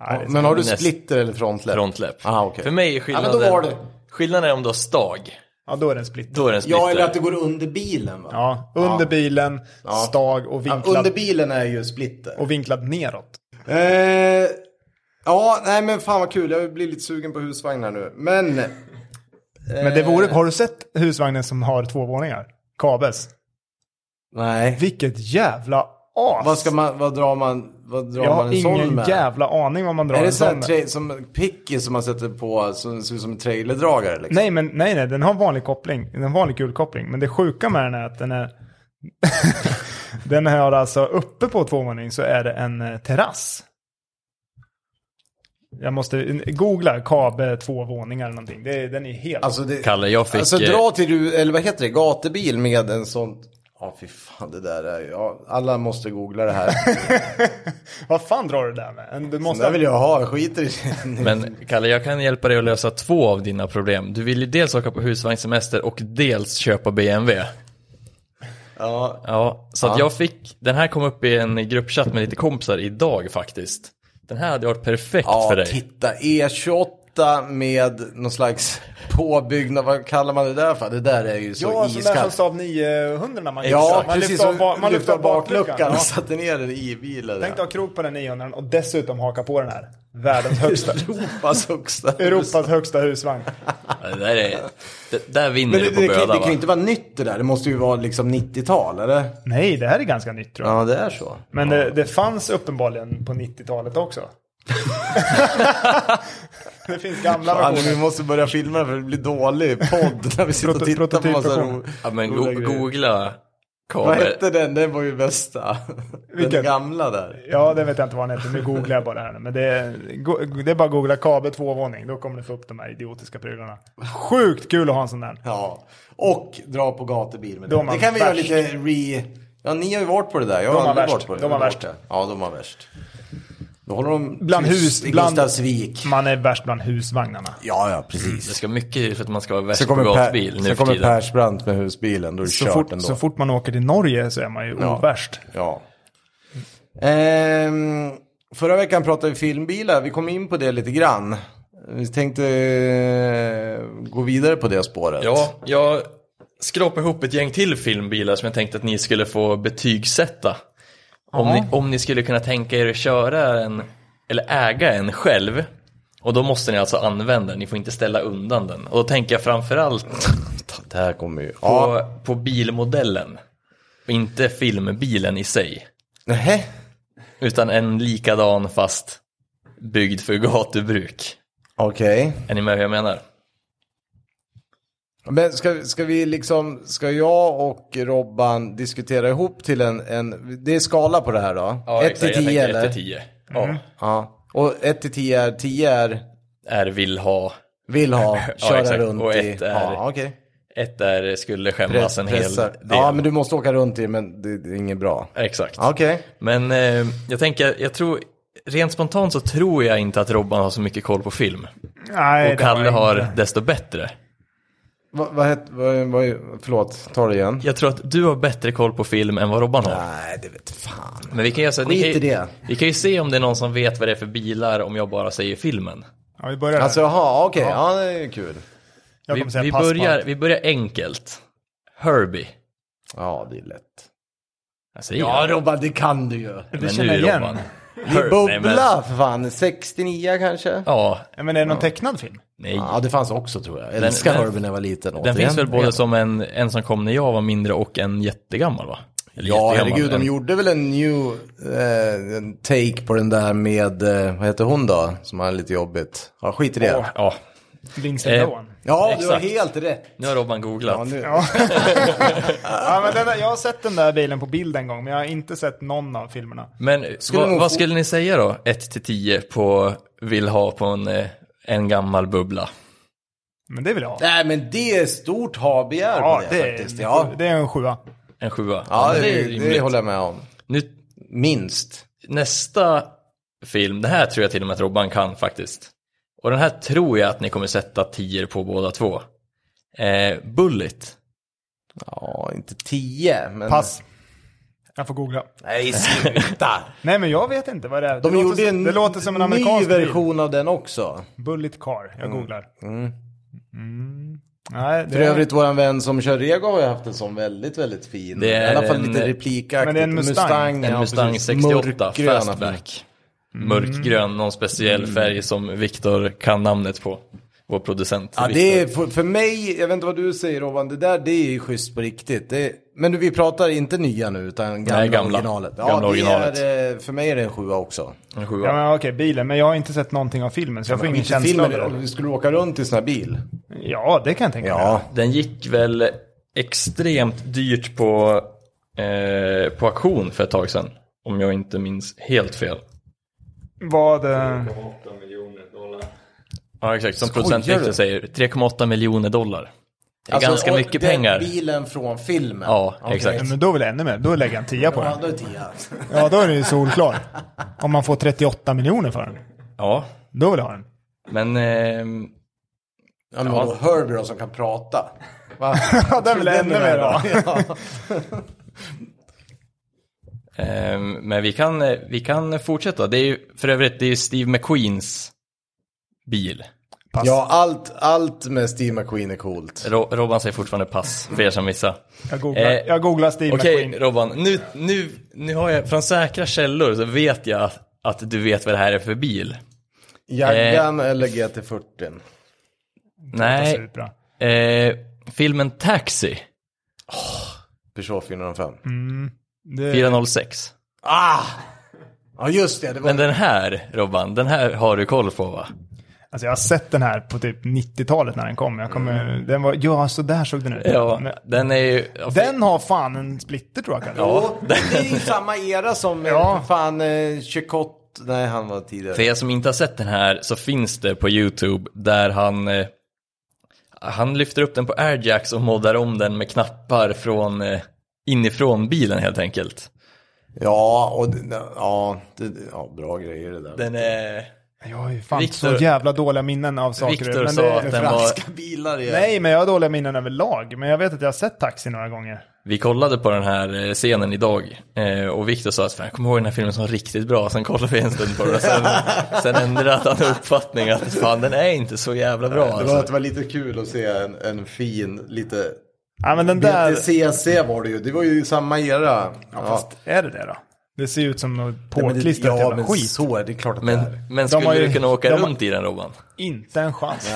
[SPEAKER 3] Nej, det är
[SPEAKER 1] Men har du
[SPEAKER 2] Näst-
[SPEAKER 1] splitter eller frontläpp?
[SPEAKER 2] Frontläpp.
[SPEAKER 1] Ah, okej.
[SPEAKER 2] För mig är
[SPEAKER 1] men då
[SPEAKER 2] skillnaden,
[SPEAKER 1] var det.
[SPEAKER 2] skillnaden är om du har stag.
[SPEAKER 3] Ja, då är den splitt.
[SPEAKER 2] Då är den splitter.
[SPEAKER 1] Ja, eller att det går under bilen va?
[SPEAKER 3] Ja, under bilen, stag och
[SPEAKER 1] Ja,
[SPEAKER 3] vinklad,
[SPEAKER 1] under bilen är ju splitter.
[SPEAKER 3] och vinklad neråt.
[SPEAKER 1] Eh, ja, nej men fan vad kul. Jag blir lite sugen på husvagnar nu. Men...
[SPEAKER 3] Men
[SPEAKER 1] Eh.
[SPEAKER 3] det vore, har du sett husvagnen som har två våningar? Kabes.
[SPEAKER 1] Nej.
[SPEAKER 3] Vilket jävla as!
[SPEAKER 1] Vad ska man, vad drar man, vad drar
[SPEAKER 3] jag
[SPEAKER 1] man
[SPEAKER 3] har
[SPEAKER 1] en sån
[SPEAKER 3] ingen
[SPEAKER 1] med?
[SPEAKER 3] jävla aning vad man drar
[SPEAKER 1] Är det
[SPEAKER 3] en
[SPEAKER 1] så här
[SPEAKER 3] sån med.
[SPEAKER 1] tra- som picky som man sätter på som ser ut som en trailerdragare liksom?
[SPEAKER 3] Nej, men nej, nej, den har vanlig koppling. Den har vanlig gulkoppling. Men det sjuka med den är att den är... den har alltså uppe på tvåvåningen så är det en eh, terrass. Jag måste eh, googla Kabe två våningar eller någonting. Det, är- den är helt...
[SPEAKER 1] Alltså, det,
[SPEAKER 2] Kalle, jag fick...
[SPEAKER 1] alltså
[SPEAKER 2] eh,
[SPEAKER 1] dra till, Ru- eller vad heter det, gatubil med en sån... Ja, fy fan, det där är ju... Ja, alla måste googla det här.
[SPEAKER 3] vad fan drar du där med? En- Du
[SPEAKER 1] det
[SPEAKER 3] måste...
[SPEAKER 1] där vill jag ha, jag skiter i det.
[SPEAKER 2] Men Kalle, jag kan hjälpa dig att lösa två av dina problem. Du vill ju dels åka på husvagnssemester och dels köpa BMW.
[SPEAKER 1] Ja,
[SPEAKER 2] Ja, så att jag fick, den här kom upp i en gruppchatt med lite kompisar idag faktiskt. Den här hade varit perfekt för
[SPEAKER 1] ja
[SPEAKER 2] dig.
[SPEAKER 1] titta, E28 med någon slags påbyggnad, vad kallar man det där för? Det där är ju så
[SPEAKER 3] Ja, sån där som
[SPEAKER 1] iskallt.
[SPEAKER 3] Saab 900 när man
[SPEAKER 1] Ja,
[SPEAKER 3] man
[SPEAKER 1] precis.
[SPEAKER 3] lyfter av, ba-
[SPEAKER 1] som
[SPEAKER 3] man lyfter av bakluckan.
[SPEAKER 1] bakluckan Alltså, och
[SPEAKER 3] Ja.
[SPEAKER 1] satte ner den i bilen.
[SPEAKER 3] Tänk dig ha krok på den 900 och dessutom haka på den här. Världens högsta.
[SPEAKER 1] Europas högsta
[SPEAKER 3] Europas högsta husvagn.
[SPEAKER 2] Ja, det där, är, det, där vinner
[SPEAKER 1] Men
[SPEAKER 2] du
[SPEAKER 1] det,
[SPEAKER 2] på
[SPEAKER 1] det, kan, det
[SPEAKER 2] böda
[SPEAKER 1] kan ju
[SPEAKER 2] va?
[SPEAKER 1] inte vara nytt det där. Det måste ju vara liksom 90-tal, eller?
[SPEAKER 3] Nej, det här är ganska nytt tror jag.
[SPEAKER 1] Ja, det är så.
[SPEAKER 3] Men det, det fanns uppenbarligen på 90-talet också. Det finns gamla
[SPEAKER 1] Fan,
[SPEAKER 3] versioner.
[SPEAKER 1] vi måste börja filma för det blir dålig podd när vi sitter och
[SPEAKER 3] Proto-
[SPEAKER 1] tittar på massa
[SPEAKER 3] prototypversion.
[SPEAKER 1] ro...
[SPEAKER 2] Ja men
[SPEAKER 1] roliga
[SPEAKER 2] go-
[SPEAKER 1] grejer.
[SPEAKER 2] googla
[SPEAKER 1] Vad
[SPEAKER 2] kabel.
[SPEAKER 1] hette den? Den var ju bästa. Den
[SPEAKER 3] Vilken?
[SPEAKER 1] gamla där.
[SPEAKER 3] Ja, det vet jag inte vad han heter. Nu googlar jag bara här nu. Men det är, go- det är bara att googla kabel tvåvåning. Då kommer du få upp de här idiotiska prylarna. Sjukt kul att ha en sån där.
[SPEAKER 1] Ja. Och dra på gatubil med
[SPEAKER 3] Då är
[SPEAKER 1] den.
[SPEAKER 3] man
[SPEAKER 1] Det kan vi göra
[SPEAKER 3] värst.
[SPEAKER 1] lite re... Ja, ni har ju varit på det där. Jag
[SPEAKER 3] Då
[SPEAKER 1] har
[SPEAKER 3] är man
[SPEAKER 1] aldrig
[SPEAKER 3] värst.
[SPEAKER 1] varit på det.
[SPEAKER 3] Då är man
[SPEAKER 1] Jag har
[SPEAKER 3] värst.
[SPEAKER 1] varit där. Ja, de var värst. Då håller de
[SPEAKER 3] Bland
[SPEAKER 1] tyst
[SPEAKER 3] hus-
[SPEAKER 1] i
[SPEAKER 3] bland-
[SPEAKER 1] Gustavsvik.
[SPEAKER 3] Man är värst bland husvagnarna.
[SPEAKER 1] Ja, ja,
[SPEAKER 2] Det
[SPEAKER 1] precis.
[SPEAKER 2] ska mycket till för att man ska vara
[SPEAKER 1] Sen
[SPEAKER 2] värst på
[SPEAKER 1] kommer,
[SPEAKER 2] gatubil
[SPEAKER 1] per,
[SPEAKER 2] nu
[SPEAKER 1] sen
[SPEAKER 2] för
[SPEAKER 1] kommer
[SPEAKER 2] tiden.
[SPEAKER 1] Persbrandt med husbilen. Då är det
[SPEAKER 3] Så
[SPEAKER 1] kört
[SPEAKER 3] fort,
[SPEAKER 1] ändå.
[SPEAKER 3] så fort man åker till Norge så är man ju
[SPEAKER 1] Ja.
[SPEAKER 3] ovärst.
[SPEAKER 1] Ja. Ehm, förra veckan pratade vi filmbilar. Vi kom in på det lite grann. Vi tänkte eh, gå vidare på det spåret.
[SPEAKER 2] Ja, jag skrapade ihop ett gäng till filmbilar som jag tänkte att ni skulle få betygsätta. Om ni, om ni skulle kunna tänka er att köra en, eller äga en själv. Och då måste ni alltså använda den, ni får inte ställa undan den. Och då tänker jag framförallt
[SPEAKER 1] Det här kommer ju... Ja.
[SPEAKER 2] på, på bilmodellen. Och inte filmbilen i sig.
[SPEAKER 1] Nähä.
[SPEAKER 2] Utan en likadan fast byggd för gatubruk.
[SPEAKER 1] Okej.
[SPEAKER 2] Är ni med hur jag menar?
[SPEAKER 1] Men ska, ska vi liksom... Ska jag och Robban diskutera ihop till en... en det är skala på det här då? Ett
[SPEAKER 2] exakt. Jag
[SPEAKER 1] till tio eller?
[SPEAKER 2] tänker
[SPEAKER 1] Mm.
[SPEAKER 2] ett till tio. Ja.
[SPEAKER 1] Ja. Och ett till tio är... Tio är...
[SPEAKER 2] Är vill ha.
[SPEAKER 1] Vill ha, köra
[SPEAKER 2] exakt.
[SPEAKER 1] runt
[SPEAKER 2] Och
[SPEAKER 1] i...
[SPEAKER 2] ett är-
[SPEAKER 1] Ja, okej.
[SPEAKER 2] Ett där skulle skämmas en hel
[SPEAKER 1] Pressar.
[SPEAKER 2] del.
[SPEAKER 1] Ja, men du måste åka runt i, men det, det är inget bra.
[SPEAKER 2] Exakt.
[SPEAKER 1] Okej.
[SPEAKER 2] Men eh, jag tänker, jag tror, rent spontant så tror jag inte att Robban har så mycket koll på film.
[SPEAKER 3] Nej,
[SPEAKER 2] Och
[SPEAKER 3] det har
[SPEAKER 2] Kalle
[SPEAKER 3] jag inte.
[SPEAKER 2] har desto bättre.
[SPEAKER 1] Vad vad hette, vad, vad, förlåt, ta det igen.
[SPEAKER 2] Jag tror att du har bättre koll på film än vad Robban har.
[SPEAKER 1] Nej, det vet fan.
[SPEAKER 2] Men vi kan, ju, så,
[SPEAKER 1] Skit
[SPEAKER 2] ni kan,
[SPEAKER 1] i
[SPEAKER 2] ju,
[SPEAKER 1] det.
[SPEAKER 2] vi kan ju se om det är någon som vet vad det är för bilar om jag bara säger filmen.
[SPEAKER 3] Ja, vi börjar
[SPEAKER 1] Alltså
[SPEAKER 3] alltså,
[SPEAKER 1] jaha, okej, ja. det är ju kul.
[SPEAKER 3] Jag
[SPEAKER 2] Vi,
[SPEAKER 3] kommer säga
[SPEAKER 2] vi,
[SPEAKER 3] pass på
[SPEAKER 2] börjar,
[SPEAKER 3] allt.
[SPEAKER 2] vi börjar enkelt. Herbie.
[SPEAKER 1] Ja, det är lätt.
[SPEAKER 2] Jag säger ja,
[SPEAKER 1] Robban, det kan du ju.
[SPEAKER 2] men
[SPEAKER 3] känner jag
[SPEAKER 2] nu
[SPEAKER 3] igen.
[SPEAKER 2] Robban.
[SPEAKER 1] Det är
[SPEAKER 2] Her- nej, men-
[SPEAKER 1] bubbla för fan, 69 kanske? Ja,
[SPEAKER 2] Ja,
[SPEAKER 3] Ja, Men är det någon tecknad film?
[SPEAKER 2] nej.
[SPEAKER 1] det fanns också tror jag. Jag älskar
[SPEAKER 2] den-
[SPEAKER 1] Herbie när jag var liten.
[SPEAKER 2] Den
[SPEAKER 1] återigen.
[SPEAKER 2] finns väl både som en, en som kom när jag var mindre och en jättegammal va? Eller
[SPEAKER 1] Ja,
[SPEAKER 2] jättegammal,
[SPEAKER 1] herregud, de
[SPEAKER 2] en-
[SPEAKER 1] gjorde väl en new eh, en take på den där med, eh, vad heter hon då, som hade lite jobbigt. Ja, skit i det.
[SPEAKER 2] Ja,
[SPEAKER 3] Eh. Vingselblån?
[SPEAKER 1] ja, du har
[SPEAKER 2] exakt.
[SPEAKER 1] helt rätt.
[SPEAKER 2] nu har Robban googlat.
[SPEAKER 1] Ja, nu.
[SPEAKER 3] Ja, men den där, jag har sett den där bilen på bild en gång, men jag har inte sett någon av filmerna.
[SPEAKER 2] Men
[SPEAKER 1] Skulle
[SPEAKER 2] vad,
[SPEAKER 1] nog
[SPEAKER 2] vad
[SPEAKER 1] få-
[SPEAKER 2] skulle ni säga då? 1 till 10 på vill ha på en, eh, en gammal bubbla.
[SPEAKER 3] Men det vill jag ha.
[SPEAKER 1] Nej, men det är stort ha-begär
[SPEAKER 3] Ja,
[SPEAKER 1] på det,
[SPEAKER 3] det,
[SPEAKER 1] faktiskt.
[SPEAKER 3] är,
[SPEAKER 1] Ja,
[SPEAKER 3] det är en sjua.
[SPEAKER 2] En sjua.
[SPEAKER 1] ja det,
[SPEAKER 2] är
[SPEAKER 1] det,
[SPEAKER 2] rimligt.
[SPEAKER 1] håller jag med om.
[SPEAKER 2] nu,
[SPEAKER 1] Minst.
[SPEAKER 2] Nästa film, det här tror jag till och med att Robban kan faktiskt. Och den här tror jag att ni kommer sätta 10 på båda två. Eh, Bullet.
[SPEAKER 1] Ja, inte tio, men...
[SPEAKER 3] Pass. Jag får googla.
[SPEAKER 1] Nej, sluta!
[SPEAKER 3] Nej, men jag vet inte vad det är.
[SPEAKER 1] De
[SPEAKER 3] det,
[SPEAKER 1] gjorde
[SPEAKER 3] låter,
[SPEAKER 1] en
[SPEAKER 3] som- det låter som en
[SPEAKER 1] ny
[SPEAKER 3] amerikansk version.
[SPEAKER 1] version av den också.
[SPEAKER 3] Bil. Bullet Car. Jag googlar.
[SPEAKER 1] Mm.
[SPEAKER 3] Mm. Nej, det
[SPEAKER 1] För övrigt, våran vän som kör Rego har ju haft en sån väldigt, väldigt fin.
[SPEAKER 2] Det är
[SPEAKER 1] I alla fall
[SPEAKER 2] en-
[SPEAKER 1] lite replikaktigt.
[SPEAKER 3] Men det är en Mustang.
[SPEAKER 2] En
[SPEAKER 1] ja,
[SPEAKER 2] Mustang
[SPEAKER 1] precis.
[SPEAKER 2] 68
[SPEAKER 1] Mörkgröna.
[SPEAKER 2] Fastback. Mm. Mörkgrön, någon speciell
[SPEAKER 1] Mm.
[SPEAKER 2] färg som Viktor kan namnet på. Vår producent.
[SPEAKER 1] Ja,
[SPEAKER 2] Viktor.
[SPEAKER 1] det är för, för mig, jag vet inte vad du säger Robban, det där det är ju schysst på riktigt. Det är, men vi pratar inte nya nu, utan gamla,
[SPEAKER 2] Nej, gamla.
[SPEAKER 1] originalet. Ja,
[SPEAKER 2] Gamla
[SPEAKER 1] det
[SPEAKER 2] originalet.
[SPEAKER 1] Är, eh, för mig är det en sjua också.
[SPEAKER 2] En sjua.
[SPEAKER 3] Ja, men okej, bilen. Men jag har inte sett någonting av filmen, så jag får ingen
[SPEAKER 1] Inte
[SPEAKER 3] känsla av
[SPEAKER 1] filmen,
[SPEAKER 3] det.
[SPEAKER 1] om vi skulle åka runt i sån här bil.
[SPEAKER 3] Ja, det kan jag tänka mig.
[SPEAKER 1] Ja,
[SPEAKER 2] Den gick väl extremt dyrt på, eh, på auktion för ett tag sedan. Om jag inte minns helt fel.
[SPEAKER 3] Vad... eh,
[SPEAKER 5] 8 miljoner dollar.
[SPEAKER 2] Ja exakt, som
[SPEAKER 1] Skojar
[SPEAKER 2] producent Victor
[SPEAKER 1] du?
[SPEAKER 2] säger, 3,8 miljoner dollar. Det är
[SPEAKER 1] Alltså,
[SPEAKER 2] ganska
[SPEAKER 1] och
[SPEAKER 2] mycket
[SPEAKER 1] den
[SPEAKER 2] pengar.
[SPEAKER 1] bilen från filmen.
[SPEAKER 2] Ja,
[SPEAKER 1] Okej.
[SPEAKER 2] exakt.
[SPEAKER 3] Men då vill jag ännu mer. Då lägger jag en tia på
[SPEAKER 1] Ja,
[SPEAKER 3] den.
[SPEAKER 1] då är det tia.
[SPEAKER 3] Ja, då är den ju solklar. Om man får 38 miljoner för den.
[SPEAKER 2] Ja,
[SPEAKER 3] Då vill jag ha den.
[SPEAKER 2] men ehm,
[SPEAKER 1] Ja, men vadå, Herbie då som kan prata? Va?
[SPEAKER 3] Ja, den vill jag ännu mer ha.
[SPEAKER 1] Ja.
[SPEAKER 2] ehm, men vi kan, eh, vi kan fortsätta. Det är ju för övrigt, det är ju Steve McQueens bil.
[SPEAKER 3] Pass.
[SPEAKER 1] ja, allt, allt med Steve McQueen är coolt.
[SPEAKER 2] Ro- Robban säger fortfarande pass, för er som missar.
[SPEAKER 3] Jag googlar,
[SPEAKER 2] Eh,
[SPEAKER 3] jag googlar Steve
[SPEAKER 2] Okej
[SPEAKER 3] McQueen.
[SPEAKER 2] Robban, nu, nu, nu har jag, från säkra källor så vet jag att, att du vet vad det här är för bil. Eh.
[SPEAKER 1] Jaggan eller GT40?
[SPEAKER 2] Nej,
[SPEAKER 3] Supra.
[SPEAKER 2] eh, filmen Taxi,
[SPEAKER 1] Peugeot 405.
[SPEAKER 3] Det,
[SPEAKER 2] 406.
[SPEAKER 1] Ah! Ja, just det. det var...
[SPEAKER 2] Men den här Robban, den här har du koll på va?
[SPEAKER 3] Alltså jag har sett den här på typ 90-talet när den kom. Jag kommer, den var, ja, så där såg den ut. Men,
[SPEAKER 2] Ja, den är ju... ja, för-
[SPEAKER 3] den har fan en splitter tror jag kanske.
[SPEAKER 1] Ja, det är ju samma era som ja. fan eh, Chicot, nej han var tidigare.
[SPEAKER 2] För er som inte har sett den här så finns det på YouTube där han, eh, han lyfter upp den på airjacks och moddar om den med knappar från eh, inifrån bilen helt enkelt.
[SPEAKER 1] Ja, och det- ja, det, ja, bra grejer det där.
[SPEAKER 2] Den är...
[SPEAKER 3] Jag har ju fan
[SPEAKER 2] Victor-
[SPEAKER 3] så jävla dåliga minnen av saker.
[SPEAKER 2] Victor
[SPEAKER 3] men det-
[SPEAKER 2] sa att den var...
[SPEAKER 1] Franska bilar igen.
[SPEAKER 3] Nej, men jag har dåliga minnen överlag. Men jag vet att jag har sett Taxi några gånger.
[SPEAKER 2] Vi kollade på den här eh, scenen idag eh, och Victor sa att "Fan, jag kommer ihåg den här filmen som var riktigt bra, sen kollade vi en stund på den och sen, sen ändrade han uppfattning att fan den är inte så jävla bra.
[SPEAKER 1] Det var,
[SPEAKER 2] Alltså.
[SPEAKER 1] det var lite kul att se en, en fin, lite...
[SPEAKER 3] Ja, men den där...
[SPEAKER 1] BTCC var det ju, det var ju samma era. Ja,
[SPEAKER 3] Fast är det det då? Det ser ju ut som något
[SPEAKER 1] Nej, men det-
[SPEAKER 3] påklistrat
[SPEAKER 1] Ja,
[SPEAKER 3] jävla
[SPEAKER 1] men
[SPEAKER 3] skit.
[SPEAKER 1] så är det klart att det är.
[SPEAKER 2] Men, men
[SPEAKER 3] De har
[SPEAKER 2] skulle
[SPEAKER 3] ju-
[SPEAKER 2] du kunna åka
[SPEAKER 3] de har-
[SPEAKER 2] runt i den Robban?
[SPEAKER 3] Inte en chans.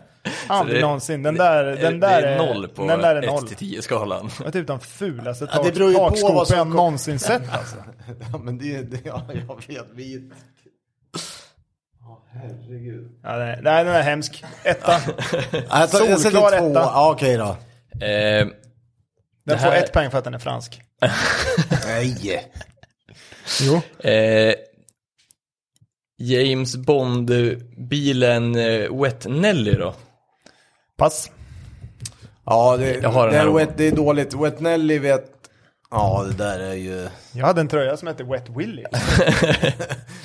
[SPEAKER 3] Aldrig
[SPEAKER 2] det-
[SPEAKER 3] någonsin. Den där, den
[SPEAKER 2] det
[SPEAKER 3] där
[SPEAKER 2] är noll på
[SPEAKER 3] Den där är noll.
[SPEAKER 2] 1-10 skalan.
[SPEAKER 3] Det var typ de fulaste
[SPEAKER 1] det beror
[SPEAKER 3] tak-
[SPEAKER 1] ju på vad
[SPEAKER 3] takskoporna
[SPEAKER 1] som
[SPEAKER 3] jag
[SPEAKER 1] kom.
[SPEAKER 3] någonsin sett alltså.
[SPEAKER 1] Ja, men det, det ja, jag vet. Vi...
[SPEAKER 3] Ja, nej, nej, den är hemsk. Etta.
[SPEAKER 1] Jag, tar, jag sätter
[SPEAKER 3] Solklar
[SPEAKER 1] två.
[SPEAKER 3] etta.
[SPEAKER 1] Ja, okej då.
[SPEAKER 2] Eh,
[SPEAKER 3] Den får
[SPEAKER 2] här-
[SPEAKER 3] ett poäng för att den är fransk.
[SPEAKER 1] Nej.
[SPEAKER 3] Jo.
[SPEAKER 2] eh, James Bond-bilen eh, Wet Nelly då?
[SPEAKER 3] Pass.
[SPEAKER 1] Ja, det,
[SPEAKER 2] Jag har den
[SPEAKER 1] det,
[SPEAKER 2] här
[SPEAKER 1] är,
[SPEAKER 2] också.
[SPEAKER 1] wet, det är dåligt. Wet Nelly vet... Ja, det där är ju...
[SPEAKER 3] Jag hade en tröja som hette Wet Willy.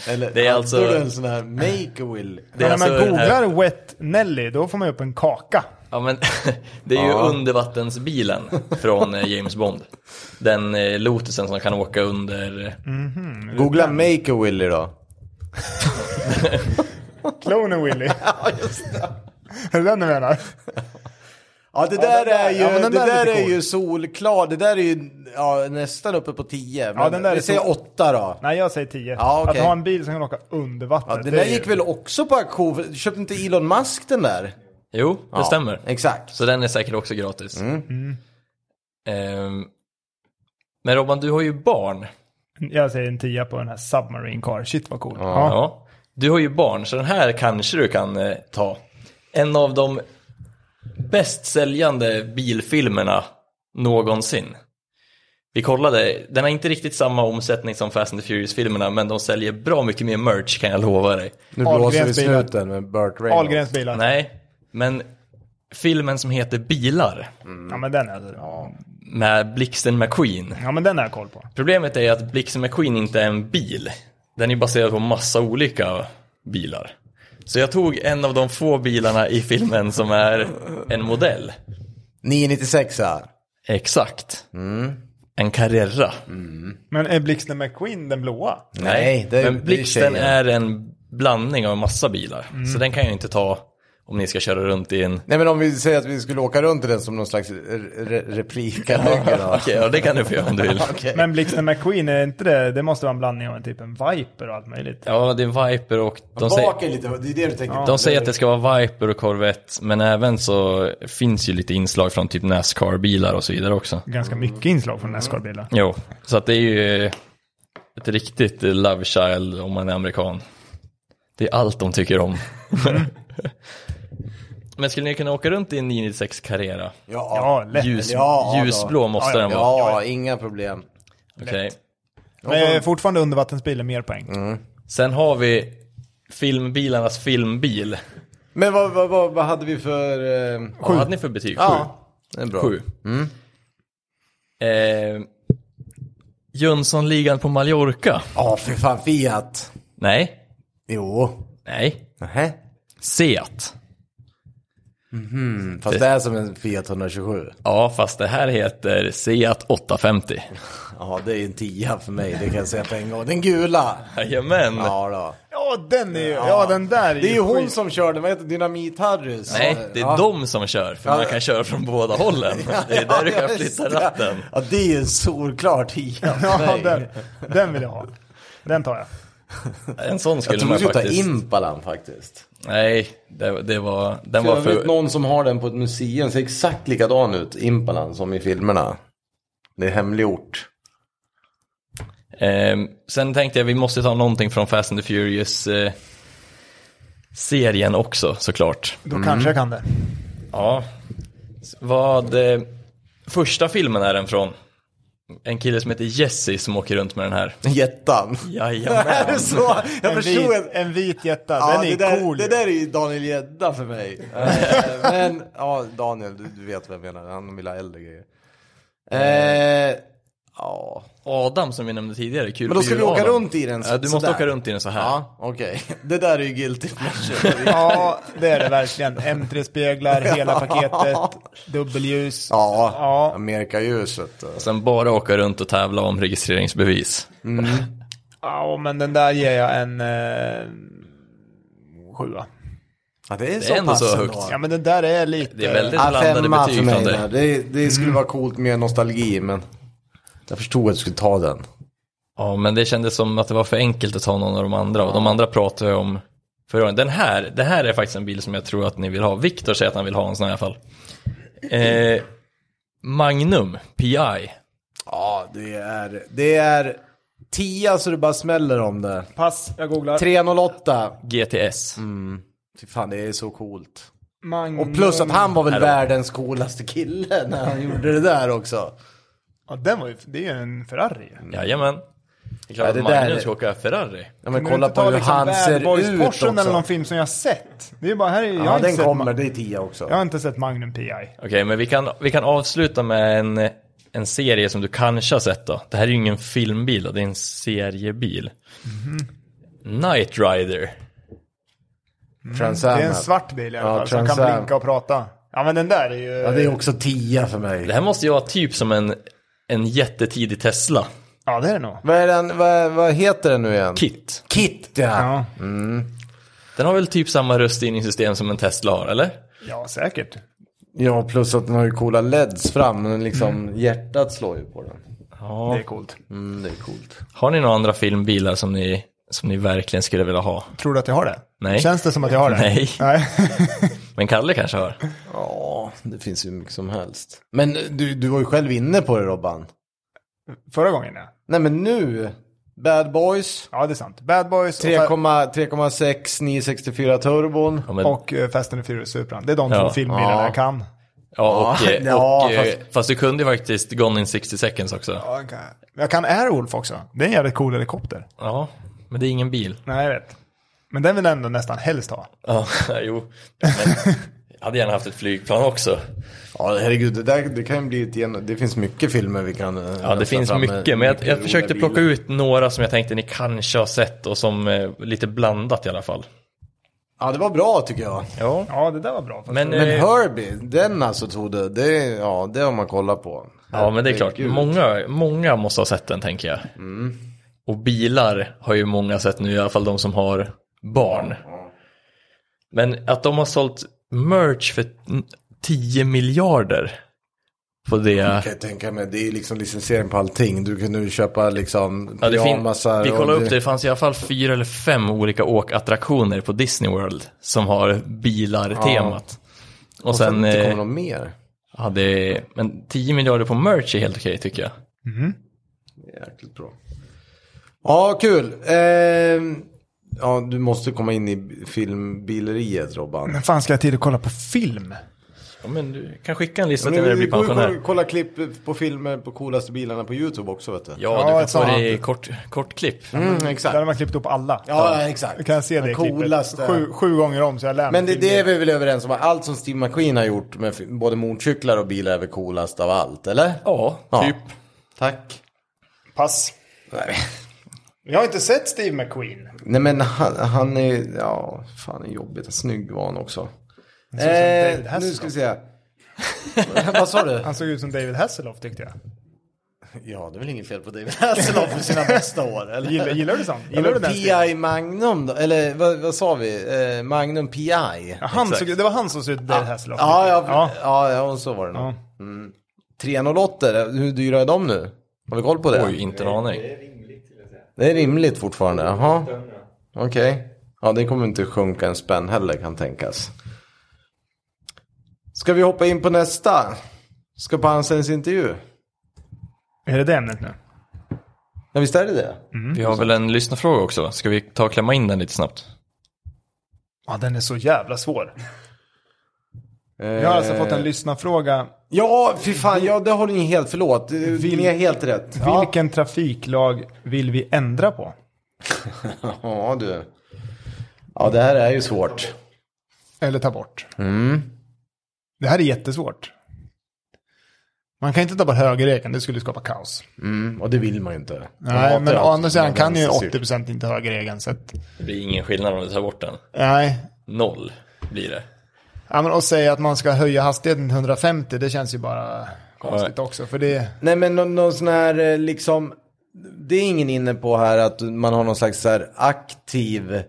[SPEAKER 1] Eller,
[SPEAKER 2] Det är
[SPEAKER 1] hade
[SPEAKER 2] alltså-
[SPEAKER 1] du en sån här make a will?
[SPEAKER 2] Det är
[SPEAKER 3] Men när man
[SPEAKER 2] alltså den här-
[SPEAKER 3] googlar Wet Nelly då får man ju upp en kaka.
[SPEAKER 2] Ja, men det är ju undervattensbilen från eh, James Bond. Den eh, Lotusen som kan åka under...
[SPEAKER 1] Googla make a will då.
[SPEAKER 3] Clonen Willy. ja, just det. Är det den du menar?
[SPEAKER 1] Ja, det där
[SPEAKER 3] den där-
[SPEAKER 1] är ju,
[SPEAKER 3] ja, men
[SPEAKER 1] det
[SPEAKER 3] den där
[SPEAKER 1] där
[SPEAKER 3] är lite
[SPEAKER 1] är
[SPEAKER 3] cool.
[SPEAKER 1] ju solklar. Det där är ju ja, nästan uppe på 10. Men
[SPEAKER 3] Ja, den där är
[SPEAKER 1] vi säger
[SPEAKER 3] sol-
[SPEAKER 1] 8 då.
[SPEAKER 3] Nej, jag säger 10.
[SPEAKER 1] Ja, okej.
[SPEAKER 3] Att ha en bil som kan åka under vattnet.
[SPEAKER 1] Ja, den
[SPEAKER 3] det
[SPEAKER 1] där
[SPEAKER 3] är ju-
[SPEAKER 1] gick väl också på auktion? Köpte inte Elon Musk den där?
[SPEAKER 2] Jo, det
[SPEAKER 1] Ja,
[SPEAKER 2] stämmer.
[SPEAKER 1] Exakt.
[SPEAKER 2] Så den är säkert också gratis. Ehm, men Robban, du har ju barn.
[SPEAKER 3] Jag säger en 10 på den här Submarine Car. Shit vad cool.
[SPEAKER 2] Ja.
[SPEAKER 3] Ja.
[SPEAKER 2] Du har ju barn, så den här kanske du kan eh, ta. En av de bäst säljande bilfilmerna någonsin. Vi kollade, den har inte riktigt samma omsättning som Fast and the Furious-filmerna, men de säljer bra mycket mer merch kan jag lova dig.
[SPEAKER 1] Nu
[SPEAKER 3] Ahlgrens blåser vi bilar.
[SPEAKER 1] snuten med Burt
[SPEAKER 3] Ahlgrens bilar.
[SPEAKER 2] Nej, men filmen som heter Bilar
[SPEAKER 3] Ja, men den är ja.
[SPEAKER 2] med Blixten McQueen.
[SPEAKER 3] ja, men den har jag koll på.
[SPEAKER 2] Problemet är att Blixten McQueen inte är en bil. Den är baserad på massa olika bilar. Så jag tog en av de få bilarna i filmen som är en modell.
[SPEAKER 1] 996 ja.
[SPEAKER 2] Exakt. En Carrera.
[SPEAKER 3] Men är Blixten McQueen den blåa?
[SPEAKER 1] Nej, det är- det är
[SPEAKER 2] Men Blixten
[SPEAKER 1] tjejen.
[SPEAKER 2] är en blandning av en massa bilar. Så den kan jag inte ta om ni ska köra runt i en...
[SPEAKER 1] Nej men om vi säger att vi skulle åka runt i den som någon slags re- re- replikanläggning då.
[SPEAKER 2] Okej, ja, det kan du få göra om du vill.
[SPEAKER 3] Men Blixten McQueen, är inte det, det måste vara en blandning av en typ en Viper och allt möjligt.
[SPEAKER 2] Ja, det är Viper och... De säger,
[SPEAKER 1] Bak är lite, det är det du tänker på.
[SPEAKER 2] de säger att det ska vara Viper och Corvette, men även så finns ju lite inslag från typ Nascar-bilar och så vidare också.
[SPEAKER 3] Ganska mycket inslag från Nascar-bilar.
[SPEAKER 2] Jo, så att det är ju ett riktigt love child om man är amerikan. Det är allt de tycker om. Men skulle ni kunna åka runt i en 996 Carrera?
[SPEAKER 1] Ja,
[SPEAKER 3] Eh, Ja, lätt.
[SPEAKER 2] Ljus,
[SPEAKER 1] Ja, då.
[SPEAKER 2] ljusblå måste
[SPEAKER 3] Ja, ja,
[SPEAKER 2] den vara.
[SPEAKER 1] ja, inga problem.
[SPEAKER 2] Okej.
[SPEAKER 3] Men jag är fortfarande undervattensbilen mer poäng.
[SPEAKER 1] Mm.
[SPEAKER 2] Sen har vi filmbilarnas filmbil.
[SPEAKER 1] Men vad, vad, vad, vad hade vi för... Eh...
[SPEAKER 2] Vad hade ni för betyg?
[SPEAKER 1] Ja, det är bra. Mm.
[SPEAKER 2] Sju. Sju. Eh, Jönssonligan på Mallorca?
[SPEAKER 1] Ja, för fan Fiat.
[SPEAKER 2] Nej.
[SPEAKER 1] Jo.
[SPEAKER 2] Nej.
[SPEAKER 1] Nähä.
[SPEAKER 2] Seat.
[SPEAKER 1] Fast det är som en Fiat 127.
[SPEAKER 2] Ja, fast det här heter Seat 850.
[SPEAKER 1] Ja, det är en tia för mig, det kan jag säga på en gång. Den gula.
[SPEAKER 2] Jajamän.
[SPEAKER 1] Ja, då.
[SPEAKER 3] Ja, den är ju... Ja, den där är
[SPEAKER 1] Det är ju hon
[SPEAKER 3] skit.
[SPEAKER 1] som kör den, vad heter Dynamit-Harrys?
[SPEAKER 2] Nej, det är
[SPEAKER 1] ja.
[SPEAKER 2] de som kör, för man kan köra från båda hållen. Det är där du kan
[SPEAKER 1] Ja, just
[SPEAKER 2] flytta
[SPEAKER 1] det.
[SPEAKER 2] ratten.
[SPEAKER 1] Ja, det är ju en solklar tia för
[SPEAKER 3] Ja,
[SPEAKER 1] mig.
[SPEAKER 3] den, den vill jag ha. Den tar jag.
[SPEAKER 2] En sån
[SPEAKER 1] Jag
[SPEAKER 2] skulle
[SPEAKER 1] tror vi
[SPEAKER 2] man
[SPEAKER 1] skulle ta
[SPEAKER 2] faktiskt...
[SPEAKER 1] Impalan faktiskt.
[SPEAKER 2] Nej, det, det var... Den
[SPEAKER 1] Jag
[SPEAKER 2] var
[SPEAKER 1] vet
[SPEAKER 2] för...
[SPEAKER 1] någon som har den på ett museum, ser exakt likadan ut, Impalan, som i filmerna. Det är hemliggjort.
[SPEAKER 2] Ehm, sen tänkte jag vi måste ta någonting från Fast and the Furious. Eh, serien också såklart.
[SPEAKER 3] Då kanske jag kan det.
[SPEAKER 2] Ja. S- Vad... Eh, första filmen är den från. En kille som heter Jesse som åker runt med den här.
[SPEAKER 1] Jättan. Är
[SPEAKER 2] Jajamän.
[SPEAKER 1] det så? Jag
[SPEAKER 3] En
[SPEAKER 1] förstod
[SPEAKER 3] vit,
[SPEAKER 1] att...
[SPEAKER 3] en vit jätta,
[SPEAKER 1] Ja,
[SPEAKER 3] den
[SPEAKER 1] det,
[SPEAKER 3] är
[SPEAKER 1] där,
[SPEAKER 3] cool.
[SPEAKER 1] det där är ju Daniel Gädda för mig. Eh, Men, ja Daniel, du, du vet vem jag menar. Han vill ha äldre grejer. Eh, ja.
[SPEAKER 2] Adam som vi nämnde tidigare. Kul
[SPEAKER 1] Men då ska vi åka
[SPEAKER 2] Adam.
[SPEAKER 1] runt i den så,
[SPEAKER 2] Ja, du måste
[SPEAKER 1] sådär.
[SPEAKER 2] åka runt i den så här.
[SPEAKER 1] Ja, okej. Det där är ju guilty pleasure.
[SPEAKER 3] Ja, det är det verkligen. M3-speglar, hela paketet, dubbelljus.
[SPEAKER 1] ja,
[SPEAKER 3] Ja.
[SPEAKER 1] Amerikaljuset.
[SPEAKER 2] Sen bara åka runt och tävla om registreringsbevis.
[SPEAKER 3] Ja, men den där ger jag en eh, sjua.
[SPEAKER 1] Ja, det är,
[SPEAKER 2] så ändå pass så ändå. högt.
[SPEAKER 1] högt.
[SPEAKER 3] Ja, men den där är lite...
[SPEAKER 2] Det är väldigt
[SPEAKER 1] Eh, Ja,
[SPEAKER 2] blandade
[SPEAKER 1] femma
[SPEAKER 2] betyg
[SPEAKER 1] för
[SPEAKER 2] från
[SPEAKER 1] mig.
[SPEAKER 2] dig.
[SPEAKER 1] där. Det, det skulle vara coolt med nostalgi, men jag förstod att du skulle ta den.
[SPEAKER 2] Ja, men det kändes som att det var för enkelt att ta någon av de andra. Och de andra pratade om förra året. Den här, det här är faktiskt en bil som jag tror att ni vill ha. Viktor säger att han vill ha en sån här i alla fall. Eh, Magnum PI.
[SPEAKER 1] Ja, det är... Det är tia så det bara smäller om det.
[SPEAKER 3] Pass, jag googlar.
[SPEAKER 1] 308.
[SPEAKER 2] GTS.
[SPEAKER 1] Mm. Fy fan, det är så coolt.
[SPEAKER 3] Magnum.
[SPEAKER 1] Och plus att han var väl
[SPEAKER 2] Här då.
[SPEAKER 1] världens coolaste kille när han gjorde det där också.
[SPEAKER 3] Ja, den var ju, det är ju en Ferrari.
[SPEAKER 2] Jajamän. Det är klart
[SPEAKER 1] Ja, det
[SPEAKER 2] att
[SPEAKER 1] där
[SPEAKER 2] Magnum
[SPEAKER 1] är-
[SPEAKER 2] ska åka Ferrari.
[SPEAKER 1] Ja, men kolla på hur han ser ut också.
[SPEAKER 3] Porschen liksom eller någon film som jag har sett. Det är bara, här är, jag,
[SPEAKER 1] ja,
[SPEAKER 3] har inte
[SPEAKER 1] den
[SPEAKER 3] sett,
[SPEAKER 1] kommer.
[SPEAKER 3] Ma-
[SPEAKER 1] Det är tia också.
[SPEAKER 3] jag har inte sett Magnum PI.
[SPEAKER 2] Okej, men vi kan, vi kan avsluta med en, en serie som du kanske har sett då. Det här är ju ingen filmbil, då, det är en seriebil.
[SPEAKER 1] Mhm.
[SPEAKER 2] Night Rider.
[SPEAKER 1] Trans
[SPEAKER 3] Det
[SPEAKER 1] Am
[SPEAKER 3] är en
[SPEAKER 1] här.
[SPEAKER 3] svart bil i alla
[SPEAKER 1] Ja,
[SPEAKER 3] fall, som kan
[SPEAKER 1] Trans Am.
[SPEAKER 3] blinka och prata. Ja, men den där är ju...
[SPEAKER 1] Ja, det är också tia för mig.
[SPEAKER 2] Det här måste ju vara typ som en, en jättetidig Tesla.
[SPEAKER 3] Ja, det är det nog.
[SPEAKER 1] Vad, är den, vad, vad heter den nu igen?
[SPEAKER 2] Kit.
[SPEAKER 1] Kit ja.
[SPEAKER 3] Ja,
[SPEAKER 2] Den har väl typ samma röststyrningssystem som en Tesla har, eller?
[SPEAKER 3] ja säkert.
[SPEAKER 1] Ja, plus att den har ju coola LEDs fram. Men liksom hjärtat slår ju på den.
[SPEAKER 3] Det är coolt.
[SPEAKER 1] Mm, det är coolt.
[SPEAKER 2] Har ni några andra filmbilar som ni, som ni verkligen skulle vilja ha?
[SPEAKER 3] Tror du att jag har det?
[SPEAKER 2] Nej.
[SPEAKER 3] Känns det som att jag har det?
[SPEAKER 2] Nej.
[SPEAKER 3] Nej.
[SPEAKER 2] Men Kalle kanske har?
[SPEAKER 1] Ja, det finns ju mycket som helst. Men du, du var ju själv inne på det Robban.
[SPEAKER 3] Förra gången ja.
[SPEAKER 1] Nej men nu, Bad Boys,
[SPEAKER 3] Ja, det är sant. Bad Boys och,
[SPEAKER 1] 3,6 964 turbon.
[SPEAKER 2] Ja, men,
[SPEAKER 3] och eh, Fast and the Furious Supran. Det är de
[SPEAKER 2] Ja.
[SPEAKER 3] två filmbilarna
[SPEAKER 1] Ja.
[SPEAKER 3] jag kan.
[SPEAKER 2] ja, och, eh,
[SPEAKER 1] Ja,
[SPEAKER 2] och, eh,
[SPEAKER 1] fast-
[SPEAKER 2] fast... du kunde ju faktiskt Gone in 60 seconds också.
[SPEAKER 3] Ja, okay. Jag kan Airwolf också. Det är en jävligt cool helikopter.
[SPEAKER 2] Ja, men det är ingen bil.
[SPEAKER 3] Nej, jag vet. Men den vill jag ändå nästan helst ha.
[SPEAKER 2] Ja, jo. Men jag hade gärna haft ett flygplan också.
[SPEAKER 1] Ja herregud, det, där, det kan ju bli ett gen... Det finns mycket filmer vi kan... eh,
[SPEAKER 2] Ja, det finns mycket. Men jag, jag försökte plocka ut några som jag tänkte ni kanske har sett och som eh, lite blandat i alla fall.
[SPEAKER 1] Ja det var bra tycker jag.
[SPEAKER 2] Ja.
[SPEAKER 3] Ja, det där var bra.
[SPEAKER 2] Men,
[SPEAKER 1] Men
[SPEAKER 2] eh,
[SPEAKER 1] Herbie, den alltså tog det, det, ja det har man kollat på.
[SPEAKER 2] Ja, men det är klart.
[SPEAKER 1] Herregud. Mm.
[SPEAKER 2] Många, många måste ha sett den, tänker jag. Och bilar har ju många sett nu, i alla fall de som har barn. Men att de har sålt merch för n- 10 miljarder på det.
[SPEAKER 1] Kan jag tänka mig, det är liksom licensiering på allting. Du kan nu köpa liksom
[SPEAKER 2] Ja, det fin-
[SPEAKER 1] pyjamasar
[SPEAKER 2] vi
[SPEAKER 1] och
[SPEAKER 2] kollade upp det, det fanns i alla fall fyra eller fem olika åkattraktioner på Disney World som har bilar-temat. Och,
[SPEAKER 1] Och sen
[SPEAKER 2] sen,
[SPEAKER 1] inte kommer
[SPEAKER 2] eh,
[SPEAKER 1] någon mer.
[SPEAKER 2] ja, det, men 10 miljarder på merch är helt okej tycker jag.
[SPEAKER 3] Mm-hmm.
[SPEAKER 1] Jäkligt bra. Ja, kul. Ehm, ja, du måste komma in i filmbileriet Robban.
[SPEAKER 3] Men fan ska jag ha tid att kolla på film?
[SPEAKER 2] Ja, men du kan skicka en lista
[SPEAKER 1] Men
[SPEAKER 2] till när du
[SPEAKER 1] vi
[SPEAKER 2] blir
[SPEAKER 1] går ju
[SPEAKER 2] pensionär.
[SPEAKER 1] och kolla klipp på filmer på coolaste bilarna på YouTube också vet du.
[SPEAKER 2] Ja,
[SPEAKER 3] Ja,
[SPEAKER 2] du
[SPEAKER 3] ett
[SPEAKER 2] kan få
[SPEAKER 3] sånt.
[SPEAKER 2] det i kort, kort klipp.
[SPEAKER 1] Mm,
[SPEAKER 3] Där har
[SPEAKER 1] exakt.
[SPEAKER 3] man klippt upp alla.
[SPEAKER 1] Ja, exakt.
[SPEAKER 3] Kan jag se det
[SPEAKER 1] Den
[SPEAKER 3] klippet?
[SPEAKER 1] coolaste.
[SPEAKER 3] Sju, sju gånger om så jag lär mig
[SPEAKER 1] Men det, det är
[SPEAKER 3] filmbilar.
[SPEAKER 1] vi väl överens om, att allt som Steve McQueen har gjort med fi- både motorcyklar och bilar är väl coolast av allt, eller?
[SPEAKER 2] Ja,
[SPEAKER 1] Ja.
[SPEAKER 2] typ.
[SPEAKER 1] Tack.
[SPEAKER 3] Pass.
[SPEAKER 1] Nej,
[SPEAKER 3] Jag har inte sett Steve McQueen.
[SPEAKER 1] Nej men han, han är, ja, fan är jobbigt, snygg var han också.
[SPEAKER 3] ser ut som David
[SPEAKER 1] Eh, nu
[SPEAKER 3] Hasselhoff.
[SPEAKER 1] ska vi se. Vad sa du?
[SPEAKER 3] Han såg ut som David Hasselhoff tyckte jag.
[SPEAKER 1] Ja, det är väl inget fel på David Hasselhoff för sina bästa år, eller?
[SPEAKER 3] Gillar, gillar du sånt? Gillar
[SPEAKER 1] Eller
[SPEAKER 3] du den stilen?
[SPEAKER 1] P.I. Magnum då? Eller vad, vad sa vi? Eh, Magnum P.I.
[SPEAKER 3] Ja, Han
[SPEAKER 2] Exakt.
[SPEAKER 3] såg, det var han som såg ut som David Hasselhoff.
[SPEAKER 1] Ja, ja,
[SPEAKER 3] Ja.
[SPEAKER 1] ja. ja, och så var det nog.
[SPEAKER 3] Ja.
[SPEAKER 1] Mm. 308, hur dyra är de nu? Har vi koll på det?
[SPEAKER 2] Oj, inte en aning.
[SPEAKER 5] Det är rimligt skulle jag säga.
[SPEAKER 1] Det är rimligt fortfarande, jaha.
[SPEAKER 5] Större.
[SPEAKER 1] Okej. Ja, det kommer inte sjunka en spänn heller kan tänkas. Ska vi hoppa in på nästa? Ska på Hansens intervju?
[SPEAKER 3] Är det det ämnet nu?
[SPEAKER 1] Ja, visst är det det?
[SPEAKER 2] Mm. Vi har väl en lyssnarfråga också. Ska vi ta och klämma in den lite snabbt?
[SPEAKER 6] Ja, den är så jävla svår.
[SPEAKER 3] Mm.
[SPEAKER 6] Jag har alltså fått en lyssnarfråga.
[SPEAKER 1] Eh, Ja, fy fan, ja det har ni helt, förlåt. Eh, Ni har helt rätt. Ja,
[SPEAKER 6] Vilken trafiklag vill vi ändra på?
[SPEAKER 1] ja du. Ja, det här är ju svårt.
[SPEAKER 3] Eller ta bort.
[SPEAKER 1] Mm.
[SPEAKER 6] Det här är jättesvårt.
[SPEAKER 3] Man kan inte ta bort högerregeln, det skulle skapa kaos.
[SPEAKER 1] Mm, och det vill man ju inte. Man hatar
[SPEAKER 3] Nej, men
[SPEAKER 1] ju
[SPEAKER 3] å
[SPEAKER 1] allt
[SPEAKER 3] andra
[SPEAKER 1] som är
[SPEAKER 3] sidan kan ju
[SPEAKER 1] vänsterstyrt.
[SPEAKER 3] 80% inte högerregeln. Så att,
[SPEAKER 2] Det blir ingen skillnad om du tar bort den.
[SPEAKER 3] nej.
[SPEAKER 2] Noll blir det.
[SPEAKER 3] Ja, men att säga att man ska höja hastigheten till 150, det känns ju bara konstigt också. För det,
[SPEAKER 1] Nej men någon, någon sån här eh, liksom, det är ingen inne på här att man har någon slags så här aktiv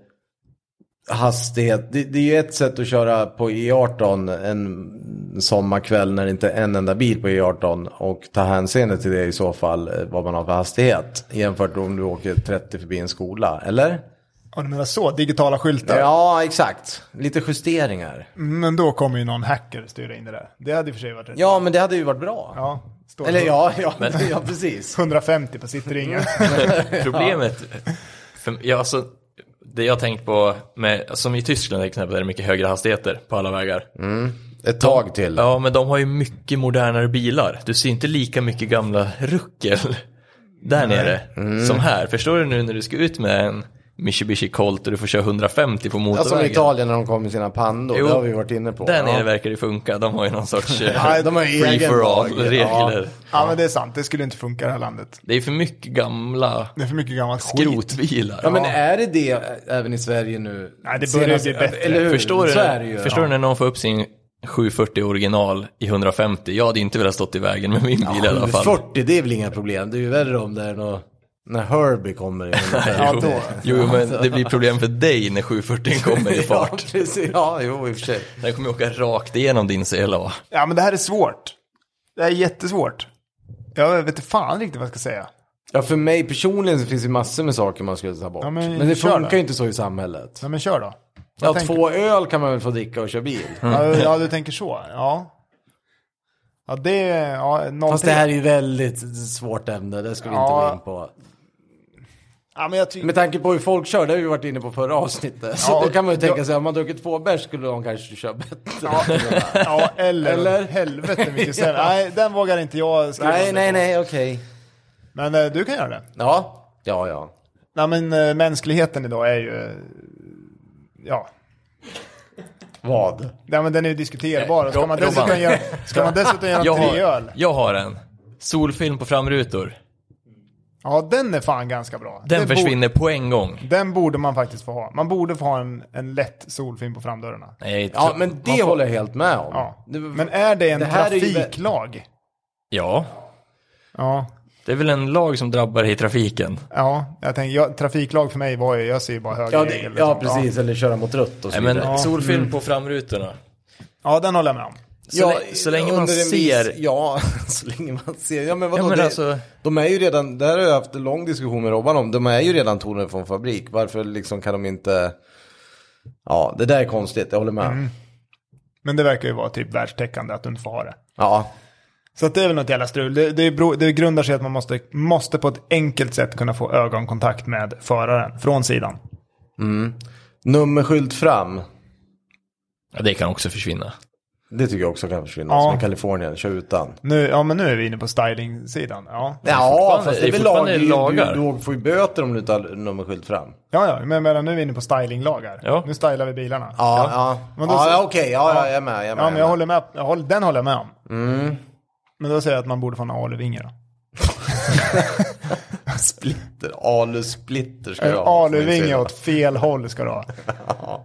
[SPEAKER 1] hastighet. Det, det är ju ett sätt att köra på E18 en sommarkväll när det inte är en enda bil på E18 och ta hänseende till det i så fall eh, vad man har för hastighet jämfört med om du åker 30 förbi en skola, eller?
[SPEAKER 3] om du menar så, digitala skyltar.
[SPEAKER 1] Ja, exakt. Lite justeringar.
[SPEAKER 3] Men då kommer ju någon hacker styra in det där. Det hade i och för sig varit rätt.
[SPEAKER 1] Ja, men det hade ju varit bra.
[SPEAKER 3] ja står
[SPEAKER 1] Eller ja, ja, ja precis.
[SPEAKER 3] 150 på sittringen.
[SPEAKER 2] Problemet, för, ja, alltså, det jag har tänkt på, med, som i Tyskland till exempel, där det är mycket högre hastigheter på alla vägar.
[SPEAKER 1] Ett tag till.
[SPEAKER 2] Ja, men de har ju mycket modernare bilar. Du ser inte lika mycket gamla ruckel där nere som här. Förstår du nu när du ska ut med en Mitsubishi Colt och du får köra 150 på
[SPEAKER 1] Ja, som i
[SPEAKER 2] motorvägen?
[SPEAKER 1] Alltså, Italien när de kom med sina pandor.
[SPEAKER 2] Alltså, Jo,
[SPEAKER 1] det har vi varit inne på.
[SPEAKER 2] Där
[SPEAKER 1] ja.
[SPEAKER 2] nere verkar det funka. De har ju någon sorts eh,
[SPEAKER 1] Nej, de har ju
[SPEAKER 2] free
[SPEAKER 1] egen
[SPEAKER 2] for
[SPEAKER 1] lag.
[SPEAKER 2] all-regler.
[SPEAKER 3] ja, men det är sant. Det skulle inte funka i det här landet.
[SPEAKER 2] Det är för mycket gamla
[SPEAKER 3] Det är för mycket gammalt skit.
[SPEAKER 2] skrotbilar.
[SPEAKER 1] Ja, men är det det ä- även i Sverige nu?
[SPEAKER 3] Nej, det börjar bli bättre.
[SPEAKER 1] Eller hur?
[SPEAKER 2] Förstår du,
[SPEAKER 1] Så är det ju.
[SPEAKER 2] förstår du när någon får upp sin 740 original i 150? Jag hade inte velat stått i vägen med min bil i alla fall.
[SPEAKER 1] 40, det är väl inga problem. Det är ju värre om det är något... När Herbie kommer in. ja,
[SPEAKER 2] jo, jo, men det blir problem för dig när 740 kommer i
[SPEAKER 1] ja,
[SPEAKER 2] fart.
[SPEAKER 1] precis. Ja, jo, i och för sig.
[SPEAKER 2] Den kommer ju åka rakt igenom din CLA.
[SPEAKER 3] Ja, men det här är svårt. Det här är jättesvårt. Jag vet inte fan riktigt vad jag ska säga.
[SPEAKER 1] Ja, för mig personligen så finns det massor med saker man skulle ta bort.
[SPEAKER 3] Ja,
[SPEAKER 1] men,
[SPEAKER 3] men
[SPEAKER 1] det
[SPEAKER 3] kör
[SPEAKER 1] funkar
[SPEAKER 3] då.
[SPEAKER 1] ju inte så i samhället.
[SPEAKER 3] Ja, men kör då.
[SPEAKER 1] Ja,
[SPEAKER 3] Vad tänker
[SPEAKER 1] två
[SPEAKER 3] Mm.
[SPEAKER 1] öl kan man väl få dricka och köra bil.
[SPEAKER 3] Ja, ja, du tänker så. Ja. Ja, det är ja, någonting.
[SPEAKER 1] Fast det här är ju väldigt svårt ämne, det ska vi inte
[SPEAKER 3] Ja.
[SPEAKER 1] gå in på.
[SPEAKER 3] Ja, men jag tycker...
[SPEAKER 1] Med tanke på hur folk kör, det har vi varit inne på förra avsnittet. Så
[SPEAKER 3] Ja,
[SPEAKER 1] då
[SPEAKER 3] och-
[SPEAKER 1] kan man ju tänka
[SPEAKER 3] ja.
[SPEAKER 1] sig, om man druckit två bärs skulle de kanske köra bättre.
[SPEAKER 3] Ja, eller,
[SPEAKER 1] Eller?
[SPEAKER 3] helvete mycket sämre. Nej, den vågar inte jag skriva
[SPEAKER 1] nej,
[SPEAKER 3] under
[SPEAKER 1] nej,
[SPEAKER 3] på.
[SPEAKER 1] nej, okej.
[SPEAKER 3] Men eh, du kan göra det.
[SPEAKER 1] Ja, ja, ja.
[SPEAKER 3] Nej, men eh, mänskligheten idag är ju... eh, Ja.
[SPEAKER 1] Vad?
[SPEAKER 3] Nej, men den är ju
[SPEAKER 1] Eh,
[SPEAKER 3] diskuterbar. Och Ska man
[SPEAKER 2] Rob- Robban.
[SPEAKER 3] dessutom göra, ska man dessutom göra
[SPEAKER 2] Jag
[SPEAKER 3] tre
[SPEAKER 2] har,
[SPEAKER 3] öl?
[SPEAKER 2] jag har en. Solfilm på framrutor.
[SPEAKER 3] Ja, den är fan ganska bra.
[SPEAKER 2] Den
[SPEAKER 3] Det bo-
[SPEAKER 2] försvinner på en gång.
[SPEAKER 3] Den borde man faktiskt få ha. Man borde få ha en, en lätt solfilm på framdörrarna.
[SPEAKER 2] Nej,
[SPEAKER 1] Ja,
[SPEAKER 2] tro-
[SPEAKER 1] men det håller jag helt med om.
[SPEAKER 3] Ja.
[SPEAKER 1] Det-
[SPEAKER 3] Men är det en
[SPEAKER 1] det här är ju vä-
[SPEAKER 3] trafiklag?
[SPEAKER 2] ja,
[SPEAKER 3] Ja.
[SPEAKER 2] det är väl en lag som drabbar i trafiken.
[SPEAKER 3] Ja, jag tänker, jag, trafiklag för mig var ju, jag ser ju bara höger
[SPEAKER 1] Ja, det,
[SPEAKER 3] regel.
[SPEAKER 1] ja,
[SPEAKER 3] liksom.
[SPEAKER 1] precis, eller köra mot rött och så
[SPEAKER 2] Nej, men
[SPEAKER 1] vidare. Ja.
[SPEAKER 2] solfilm på framrutorna.
[SPEAKER 3] Ja. ja, den håller jag med om.
[SPEAKER 2] Så, lä- så länge man
[SPEAKER 1] under en
[SPEAKER 2] ser...
[SPEAKER 1] Viss, ja, så länge man ser. Ja, men vadå?
[SPEAKER 2] Ja, men
[SPEAKER 1] det,
[SPEAKER 2] alltså-
[SPEAKER 1] De är ju redan, det här har jag haft en lång diskussion med Robban om, de är ju redan toner från fabrik. Varför liksom kan de inte... Ja, det där är konstigt, jag håller med.
[SPEAKER 3] Mm. Men det verkar ju vara typ världstäckande att du inte får ha det.
[SPEAKER 1] Ja,
[SPEAKER 3] Så att det är väl något jävla strul. Det, det, beror- det grundar sig att man måste, måste på ett enkelt sätt kunna få ögonkontakt med föraren från sidan.
[SPEAKER 1] nummerskylt fram.
[SPEAKER 2] Ja, det kan också försvinna.
[SPEAKER 1] Det tycker jag också kan försvinna.
[SPEAKER 3] Ja.
[SPEAKER 1] Som i Kalifornien, kör utan.
[SPEAKER 3] Nu, ja, men nu är vi inne på styling-sidan. Ja.
[SPEAKER 1] Ja, fast
[SPEAKER 2] fortfarande- det
[SPEAKER 1] det
[SPEAKER 2] är
[SPEAKER 1] är väl
[SPEAKER 2] fortfarande
[SPEAKER 1] lag. Du,
[SPEAKER 2] lagar.
[SPEAKER 1] du, får ju böter om du inte har nummerskylt fram.
[SPEAKER 3] ja, ja, men jag menar, nu är vi inne på stylinglagar.
[SPEAKER 2] Ja.
[SPEAKER 3] Nu stylar vi bilarna.
[SPEAKER 1] Ja, ja.
[SPEAKER 3] Men då
[SPEAKER 1] ja,
[SPEAKER 3] så-
[SPEAKER 1] ja okej, ja, ja, jag är med. Jag är med,
[SPEAKER 3] Ja, men
[SPEAKER 1] jag
[SPEAKER 3] jag
[SPEAKER 1] är med.
[SPEAKER 3] håller med. Jag håller, den håller jag med om.
[SPEAKER 2] Mm.
[SPEAKER 3] Men då säger jag att man borde få en aluvinge då.
[SPEAKER 1] Splitter, alusplitter ska
[SPEAKER 3] En
[SPEAKER 1] jag ha.
[SPEAKER 3] aluvinge åt fel håll ska du ha.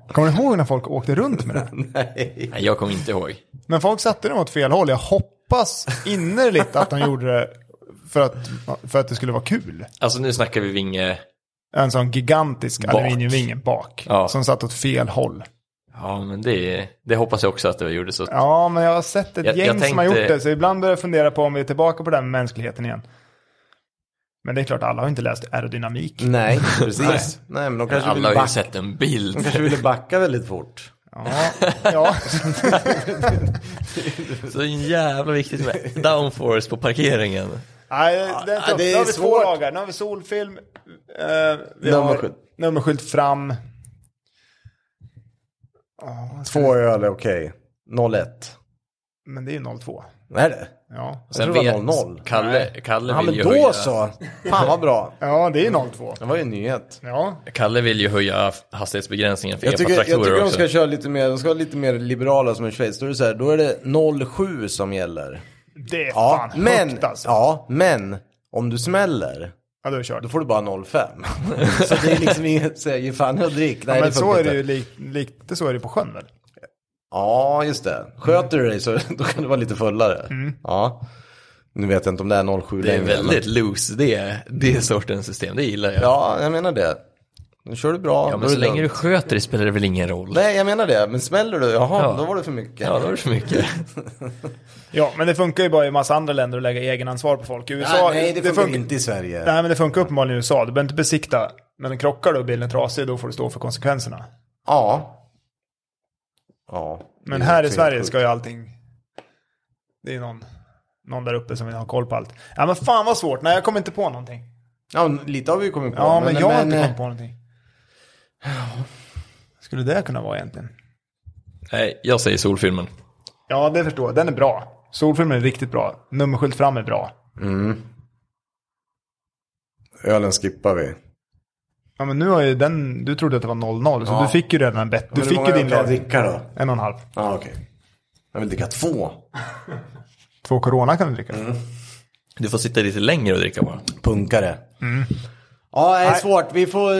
[SPEAKER 3] Kommer du ihåg när folk åkte runt med det?
[SPEAKER 1] Nej.
[SPEAKER 2] Nej, jag kommer inte ihåg.
[SPEAKER 3] Men folk satte den åt fel håll. Jag hoppas innerligt att de gjorde det för att, för att det skulle vara kul.
[SPEAKER 2] Alltså nu snackar vi vinge...
[SPEAKER 3] En sån gigantisk
[SPEAKER 2] Bak.
[SPEAKER 3] aluminiumvinge bak.
[SPEAKER 2] Ja.
[SPEAKER 3] Som satt åt fel håll.
[SPEAKER 2] Ja, men det, det hoppas jag också att det gjorde. Så att
[SPEAKER 3] Ja, men jag har sett ett
[SPEAKER 2] Jag- jag
[SPEAKER 3] gäng som har
[SPEAKER 2] tänkte-
[SPEAKER 3] gjort det. Så ibland börjar jag fundera på om vi är tillbaka på den med mänskligheten igen. Men det är klart, alla har inte läst aerodynamik.
[SPEAKER 2] Mm.
[SPEAKER 1] Nej, precis. Nej, men de kanske
[SPEAKER 2] alla
[SPEAKER 1] ville
[SPEAKER 2] har ju
[SPEAKER 1] backa.
[SPEAKER 2] sett en
[SPEAKER 1] De
[SPEAKER 2] bild.
[SPEAKER 1] kanske ville backa väldigt fort.
[SPEAKER 3] Ja, ja.
[SPEAKER 2] Så det är jävla viktigt med downforce på parkeringen.
[SPEAKER 3] Nej, det är,
[SPEAKER 1] Ja,
[SPEAKER 3] tufft.
[SPEAKER 1] det är
[SPEAKER 3] nu har vi
[SPEAKER 1] svårt.
[SPEAKER 3] två lagar. Nu har vi solfilm. Eh, vi
[SPEAKER 1] Nummerskylt.
[SPEAKER 3] Har nummerskylt fram. Ja,
[SPEAKER 1] Två öl är okej. 0-1.
[SPEAKER 3] men det är ju 02.
[SPEAKER 1] Är det?
[SPEAKER 3] Ja.
[SPEAKER 1] Jag tror det var 0-0.
[SPEAKER 2] Kalle, Kalle,
[SPEAKER 1] Ja
[SPEAKER 2] vill
[SPEAKER 1] men
[SPEAKER 2] ju
[SPEAKER 1] då
[SPEAKER 2] höja,
[SPEAKER 1] så. Fan vad bra.
[SPEAKER 3] ja, det är 02.
[SPEAKER 1] Det var ju en nyhet.
[SPEAKER 3] Ja,
[SPEAKER 2] Kalle vill ju höja hastighetsbegränsningen för
[SPEAKER 1] Jag tycker, jag
[SPEAKER 2] epatraktorer
[SPEAKER 1] tycker de
[SPEAKER 2] också.
[SPEAKER 1] ska köra lite mer, de ska vara lite mer liberala som i Schweiz. Då är det så här, då är det 0-7 som gäller.
[SPEAKER 3] det är
[SPEAKER 1] Ja,
[SPEAKER 3] fan
[SPEAKER 1] men,
[SPEAKER 3] högt alltså.
[SPEAKER 1] ja, men om du smäller,
[SPEAKER 3] Ja, då är det kört.
[SPEAKER 1] då får du bara 0,5. så det är liksom inget, så här, ge fan och drick. Nej,
[SPEAKER 3] men
[SPEAKER 1] det funkar
[SPEAKER 3] så är det
[SPEAKER 1] inte.
[SPEAKER 3] ju likt- lite så är det ju på sjön väl?
[SPEAKER 1] Ja, just det. Sköter du dig så då kan du vara lite fullare. Ja. Nu vet jag inte om det är 0,7
[SPEAKER 2] Det är
[SPEAKER 1] längre, men-
[SPEAKER 2] väldigt loose, det, det sortens system, det gillar jag.
[SPEAKER 1] Ja, jag menar det. Nu kör du bra.
[SPEAKER 2] Ja,
[SPEAKER 1] då
[SPEAKER 2] men
[SPEAKER 1] är
[SPEAKER 2] så
[SPEAKER 1] det
[SPEAKER 2] länge du
[SPEAKER 1] lugnt.
[SPEAKER 2] sköter det spelar det väl ingen roll.
[SPEAKER 1] Nej, jag menar det. Men smäller du, jaha,
[SPEAKER 2] Ja.
[SPEAKER 1] då var det för mycket.
[SPEAKER 2] Ja, då är det för mycket.
[SPEAKER 3] Ja, men det funkar ju bara i massa andra länder att lägga egenansvar på folk. I USA,
[SPEAKER 1] Nej, nej, det funkar inte i Sverige.
[SPEAKER 3] Nej, men det funkar uppenbarligen i USA. Du behöver inte besikta. Men krockar du och bilen är trasig, då får du stå för konsekvenserna.
[SPEAKER 1] Ja. Ja.
[SPEAKER 3] Men
[SPEAKER 1] det är
[SPEAKER 3] här i
[SPEAKER 1] helt
[SPEAKER 3] Sverige
[SPEAKER 1] sjukt.
[SPEAKER 3] ska ju allting... Det är någon, någon där uppe som vill ha koll på allt. Ja, men fan vad svårt. Nej, jag kommer inte på någonting.
[SPEAKER 1] Ja, lite har vi ju kommit på.
[SPEAKER 3] Ja, men, jag har inte
[SPEAKER 1] eh,
[SPEAKER 3] kommit på någonting. Skulle det kunna vara egentligen?
[SPEAKER 2] Nej, jag säger solfilmen.
[SPEAKER 3] Ja, det förstår jag. Den är bra. Solfilmen är riktigt bra. Nummerskylt fram är bra.
[SPEAKER 1] Ölen skippar vi.
[SPEAKER 3] Ja, men nu har ju den... Du trodde att det var 00, så du fick ju redan en bett. Du
[SPEAKER 1] Hur
[SPEAKER 3] fick
[SPEAKER 1] många öl
[SPEAKER 3] ju din
[SPEAKER 1] kan jag
[SPEAKER 3] lag.
[SPEAKER 1] dricka då?
[SPEAKER 3] En och en halv.
[SPEAKER 1] Ja, okej. Jag vill dricka två.
[SPEAKER 3] Två corona kan du dricka.
[SPEAKER 2] Du får sitta lite längre och dricka bara.
[SPEAKER 1] Punkare.
[SPEAKER 3] Mm.
[SPEAKER 1] Ja, det är svårt. Vi får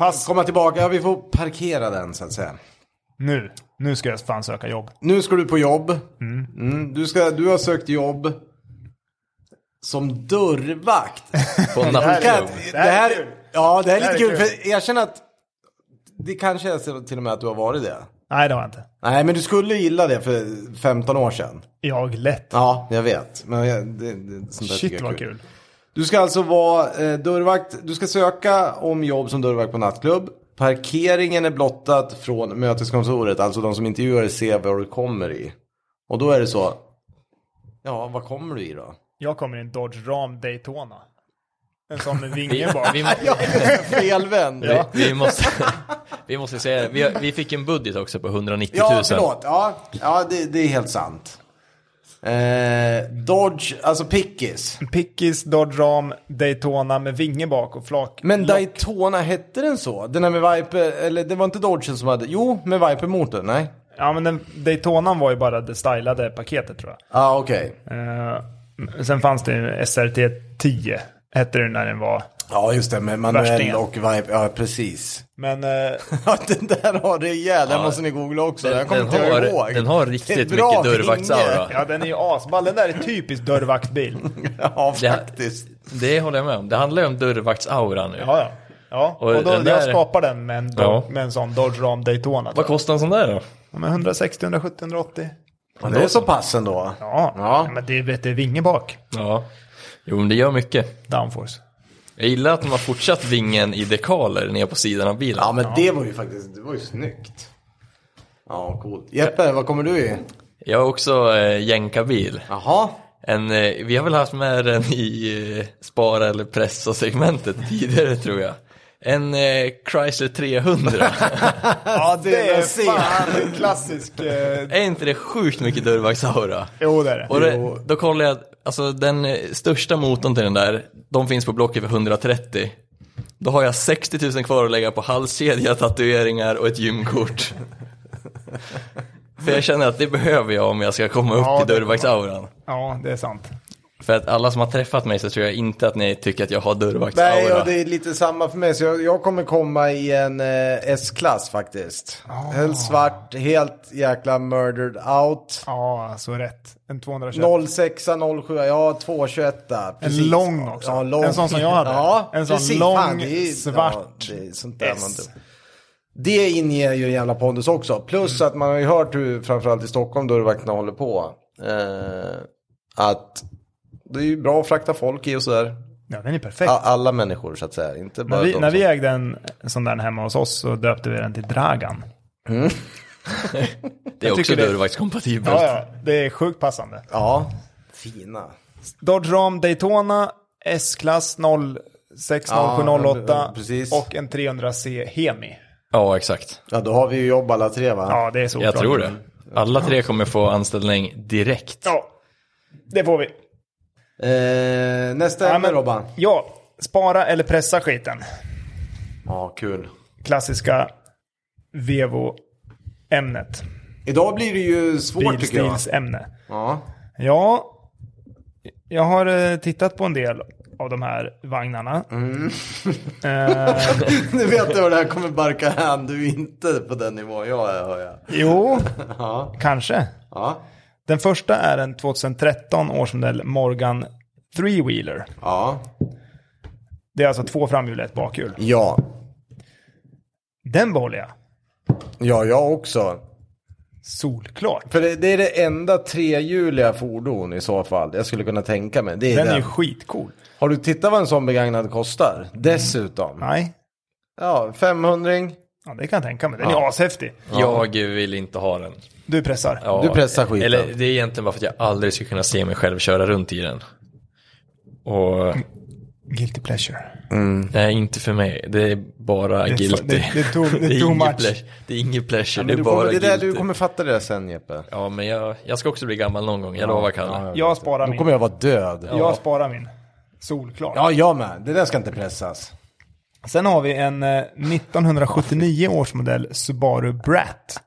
[SPEAKER 1] eh, komma tillbaka. Ja, vi får parkera den så att säga.
[SPEAKER 3] Nu. Nu ska jag fan söka jobb.
[SPEAKER 1] Nu ska du på jobb. Mm. Du, ska, du har sökt jobb som dörrvakt.
[SPEAKER 2] På
[SPEAKER 1] Det här,
[SPEAKER 2] nattklubb.
[SPEAKER 1] det här, ja, det här är lite kul.
[SPEAKER 3] är
[SPEAKER 1] För jag känner att det kanske är så till och med att du har varit det.
[SPEAKER 3] Nej, det var jag inte.
[SPEAKER 1] Nej, men du skulle gilla det för 15 år sedan.
[SPEAKER 3] Jag lätt.
[SPEAKER 1] Ja, jag vet. Men jag, det, det, sånt där tycker
[SPEAKER 3] Shit
[SPEAKER 1] jag är
[SPEAKER 3] vad kul.
[SPEAKER 1] Du ska alltså vara eh, dörrvakt. Du ska söka om jobb som dörrvakt på nattklubb. Parkeringen är blottat från möteskontoret. Alltså de som intervjuar ser vad du kommer i. Och då är det så. Ja, vad kommer du i då?
[SPEAKER 3] Jag kommer i en Dodge Ram Daytona. En sån med vinge bara.
[SPEAKER 2] Vi, må-
[SPEAKER 1] Felvänd.
[SPEAKER 2] vi, vi, måste, vi måste säga det. Vi, har- vi fick en budget också på 190 000.
[SPEAKER 1] Ja, förlåt. Ja, ja det, det är helt sant. Eh, Dodge, alltså pickis.
[SPEAKER 3] Pickis, Dodge Ram, Daytona med vinge bak och flak.
[SPEAKER 1] Men Daytona, hette den så? Den här med Viper, eller det var inte Dodgen som hade, jo, med Viper-motorn, nej?
[SPEAKER 3] Ja men den, Daytonan var ju bara det stylade paketet tror jag.
[SPEAKER 1] Ja, ah, okej.
[SPEAKER 3] Eh, sen fanns det ju SRT 10. Hette det när den var.
[SPEAKER 1] Ja, just det, med manuell
[SPEAKER 3] Värstingen.
[SPEAKER 1] och Viper, ja precis.
[SPEAKER 3] Men eh,
[SPEAKER 1] Ja, den där har rejäl, den
[SPEAKER 2] Ja.
[SPEAKER 1] måste ni googla också, den, här
[SPEAKER 2] Den,
[SPEAKER 1] kommer
[SPEAKER 2] den,
[SPEAKER 1] inte jag
[SPEAKER 2] har,
[SPEAKER 1] ihåg.
[SPEAKER 2] den har
[SPEAKER 1] Det är
[SPEAKER 2] riktigt
[SPEAKER 1] bra
[SPEAKER 2] mycket
[SPEAKER 1] vinge.
[SPEAKER 2] dörrvaktsaura.
[SPEAKER 3] ja den är ju asball. Den där är typisk dörrvaktbil.
[SPEAKER 1] Ja,
[SPEAKER 2] Det-
[SPEAKER 1] faktiskt.
[SPEAKER 2] Det håller jag med om. Det handlar ju om dörrvaktsaura nu.
[SPEAKER 3] Ja ja. Ja, och,
[SPEAKER 2] Och
[SPEAKER 3] då,
[SPEAKER 2] den
[SPEAKER 3] jag
[SPEAKER 2] där-
[SPEAKER 3] skapar den med en,
[SPEAKER 2] Ja.
[SPEAKER 3] Dodge, med en sån Dodge Ram Daytona.
[SPEAKER 2] Vad kostar en sån där då?
[SPEAKER 3] Ja, men 160, 170, 180.
[SPEAKER 1] Ja, det är så pass ändå.
[SPEAKER 3] Ja,
[SPEAKER 1] Ja.
[SPEAKER 3] men det är bättre vinge bak.
[SPEAKER 2] Ja. Jo, men det gör mycket.
[SPEAKER 3] Downforce.
[SPEAKER 2] Jag gillar att de har fortsatt vingen i dekaler nere på sidan av bilen.
[SPEAKER 1] Ja, men det var ju faktiskt, det var ju snyggt. Ja, coolt. Jeppe, vad kommer du i?
[SPEAKER 2] Jag har också eh, jänkarbil.
[SPEAKER 1] Jaha.
[SPEAKER 2] En, eh, vi har väl haft med den i eh, spara eller pressa segmentet tidigare tror jag. En eh, Chrysler 300.
[SPEAKER 3] Ja, det,
[SPEAKER 1] är
[SPEAKER 3] fan en klassisk... Eh...
[SPEAKER 2] är inte det sjukt mycket dörrvaktsaura?
[SPEAKER 3] Jo, det är det.
[SPEAKER 2] Och det, då kollar jag, alltså den eh, största motorn till den där, de finns på Blocket för 130. Då har jag 60 000 kvar att lägga på halskedja, tatueringar och ett gymkort. för jag känner att det behöver jag om jag ska komma upp
[SPEAKER 3] Ja,
[SPEAKER 2] till
[SPEAKER 3] det kommer.
[SPEAKER 2] dörrvaktsauran.
[SPEAKER 3] Ja, det är sant.
[SPEAKER 2] För att alla som har träffat mig så tror jag inte att ni tycker att jag har
[SPEAKER 1] Nej,
[SPEAKER 2] dörrvaktsaura.
[SPEAKER 1] och det är lite samma för mig. Så jag, jag kommer komma i en eh, S-klass faktiskt.
[SPEAKER 3] Ah.
[SPEAKER 1] Helt svart, helt jäkla murdered out.
[SPEAKER 3] Ja, så rätt. En 220.
[SPEAKER 1] 06, 07, ja 221.
[SPEAKER 3] en
[SPEAKER 1] precis.
[SPEAKER 3] lång också.
[SPEAKER 1] Ja, lång.
[SPEAKER 3] En sån som jag hade.
[SPEAKER 1] Ja,
[SPEAKER 3] en sån
[SPEAKER 1] precis.
[SPEAKER 3] lång,
[SPEAKER 1] Fan, det är-
[SPEAKER 3] svart
[SPEAKER 1] Ja, det, är sånt där man
[SPEAKER 3] S.
[SPEAKER 1] det inger ju en jävla pondus också.
[SPEAKER 3] Mm.
[SPEAKER 1] Plus att man har ju hört hur framförallt i Stockholm dörrvakterna håller på. Eh, att det är ju bra att frakta folk i och sådär.
[SPEAKER 3] Ja, den är perfekt.
[SPEAKER 1] A- Alla människor så att säga. Inte bara
[SPEAKER 3] när vi,
[SPEAKER 1] de
[SPEAKER 3] när
[SPEAKER 1] som...
[SPEAKER 3] vi ägde en en sån där hemma hos oss så döpte vi den till Dragan.
[SPEAKER 2] det är
[SPEAKER 3] jag
[SPEAKER 2] också
[SPEAKER 3] tycker det-
[SPEAKER 2] dörrvaktskompatibelt.
[SPEAKER 3] Ja, ja. Det är sjukt passande.
[SPEAKER 1] Ja, fina.
[SPEAKER 3] Dodge Ram Daytona, S-klass 060708
[SPEAKER 1] Ja, precis.
[SPEAKER 3] och en 300C Hemi.
[SPEAKER 2] Ja, exakt.
[SPEAKER 1] Ja, då har vi ju jobb alla tre va?
[SPEAKER 3] Ja, det är så
[SPEAKER 2] Jag
[SPEAKER 3] bra.
[SPEAKER 2] tror det. Alla tre kommer få anställning direkt.
[SPEAKER 3] Ja, det får vi.
[SPEAKER 1] Eh, nästa
[SPEAKER 3] Ja,
[SPEAKER 1] ämne
[SPEAKER 3] men-
[SPEAKER 1] Robban.
[SPEAKER 3] Ja, spara eller pressa skiten.
[SPEAKER 1] Ja, kul.
[SPEAKER 3] Klassiska Vevo-ämnet.
[SPEAKER 1] Idag blir det ju svårt tycker jag.
[SPEAKER 3] Bilstilsämne.
[SPEAKER 1] Ja.
[SPEAKER 3] Ja, jag har eh, tittat på en del av de här vagnarna.
[SPEAKER 1] Mm.
[SPEAKER 3] Eh,
[SPEAKER 1] nu vet du vad det här kommer barka hän. Du är inte på den nivån jag är hör jag.
[SPEAKER 3] jo,
[SPEAKER 1] Ja.
[SPEAKER 3] kanske.
[SPEAKER 1] Ja.
[SPEAKER 3] Den första är en 2013 årsmodell Morgan 3-wheeler.
[SPEAKER 1] Ja.
[SPEAKER 3] Det är alltså två framhjul och ett bakhjul.
[SPEAKER 1] Ja.
[SPEAKER 3] Den behåller jag.
[SPEAKER 1] Ja, jag också.
[SPEAKER 3] Solklart.
[SPEAKER 1] För det, det är det enda trehjuliga fordon i så fall. Jag skulle kunna tänka mig. Det är
[SPEAKER 3] Den
[SPEAKER 1] den.
[SPEAKER 3] är ju skitcool.
[SPEAKER 1] Har du tittat vad en sån begagnad kostar? Dessutom.
[SPEAKER 3] Nej,
[SPEAKER 1] Ja, 500
[SPEAKER 3] ja, det kan jag tänka mig. Den är ashäftig.
[SPEAKER 2] Jag vill inte ha den.
[SPEAKER 3] Du pressar.
[SPEAKER 2] Ja,
[SPEAKER 1] Du pressar skiten.
[SPEAKER 2] Eller det är egentligen bara för att jag aldrig ska kunna se mig själv köra runt i den. Och
[SPEAKER 3] Guilty pleasure.
[SPEAKER 2] nej, inte för mig. Det är bara
[SPEAKER 3] är för-
[SPEAKER 2] guilty.
[SPEAKER 3] det- det är too- det är too
[SPEAKER 2] ingen
[SPEAKER 3] much.
[SPEAKER 2] pleasure. Det är ingen pleasure,
[SPEAKER 1] Men
[SPEAKER 2] det
[SPEAKER 1] du
[SPEAKER 2] är bara
[SPEAKER 1] kommer, det där,
[SPEAKER 2] guilty.
[SPEAKER 1] du kommer fatta det där sen Jeppe.
[SPEAKER 2] Ja, men jag, jag ska också bli gammal någon gång, jag lovar Kalle.
[SPEAKER 1] ja,
[SPEAKER 3] Jag sparar
[SPEAKER 1] Då
[SPEAKER 3] min.
[SPEAKER 1] kommer jag vara död. Ja,
[SPEAKER 3] Jag sparar min. Solklart.
[SPEAKER 1] ja jag med. Det där ska inte pressas.
[SPEAKER 3] Sen har vi en eh, 1979 årsmodell Subaru Brat.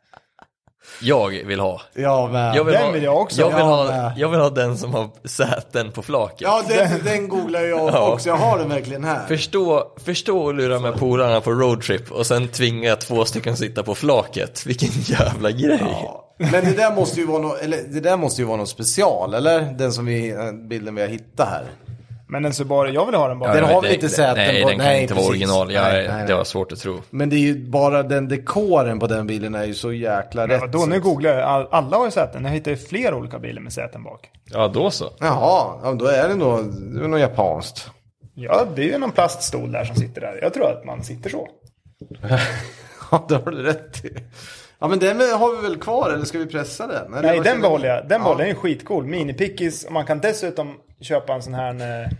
[SPEAKER 2] Jag vill ha.
[SPEAKER 1] Jag med.
[SPEAKER 2] Jag vill
[SPEAKER 3] Den
[SPEAKER 2] ha,
[SPEAKER 3] vill jag också.
[SPEAKER 2] Jag vill,
[SPEAKER 1] Jag
[SPEAKER 2] ha,
[SPEAKER 1] med.
[SPEAKER 2] jag vill ha den som har säten på flaket.
[SPEAKER 1] Ja, den, den googlar jag
[SPEAKER 2] Ja.
[SPEAKER 1] också. Jag har den verkligen här.
[SPEAKER 2] Förstå, förstå att lura med polarna på roadtrip och sen tvinga två stycken sitta på flaket. Vilken jävla grej.
[SPEAKER 1] Ja. Men det där måste ju vara något, eller det där måste ju vara något special, eller? Den som vi, eh, bilden vi har hittat här.
[SPEAKER 3] Men en Subaru, jag vill ha den bara.
[SPEAKER 1] Den
[SPEAKER 2] Ja,
[SPEAKER 1] har väl
[SPEAKER 2] det-
[SPEAKER 1] inte säten
[SPEAKER 2] Nej,
[SPEAKER 1] på-
[SPEAKER 2] den kan
[SPEAKER 1] nej,
[SPEAKER 2] inte vara
[SPEAKER 1] precis.
[SPEAKER 2] original. Jag,
[SPEAKER 1] Nej, nej, nej.
[SPEAKER 2] Det var svårt att tro.
[SPEAKER 1] Men det är ju bara den dekoren på den bilen är ju så jäkla rätt.
[SPEAKER 3] Vadå, nu googlar jag. All- Alla har ju säten. Jag hittar ju flera olika bilar med säten bak.
[SPEAKER 2] Ja, då så.
[SPEAKER 1] Jaha, ja, men då är det nog, det är nog japanskt.
[SPEAKER 3] Ja, det är ju någon plaststol där som sitter där. Jag tror att man sitter så.
[SPEAKER 1] Ja, det har du rätt i. Ja, men den har vi väl kvar, eller ska vi pressa den? Eller
[SPEAKER 3] Nej,
[SPEAKER 1] vad
[SPEAKER 3] den
[SPEAKER 1] känner
[SPEAKER 3] behåller
[SPEAKER 1] ni?
[SPEAKER 3] jag. Den behåller jag. Den är skitcool. Minipickis. Och Man kan dessutom köpa en sån här... eh,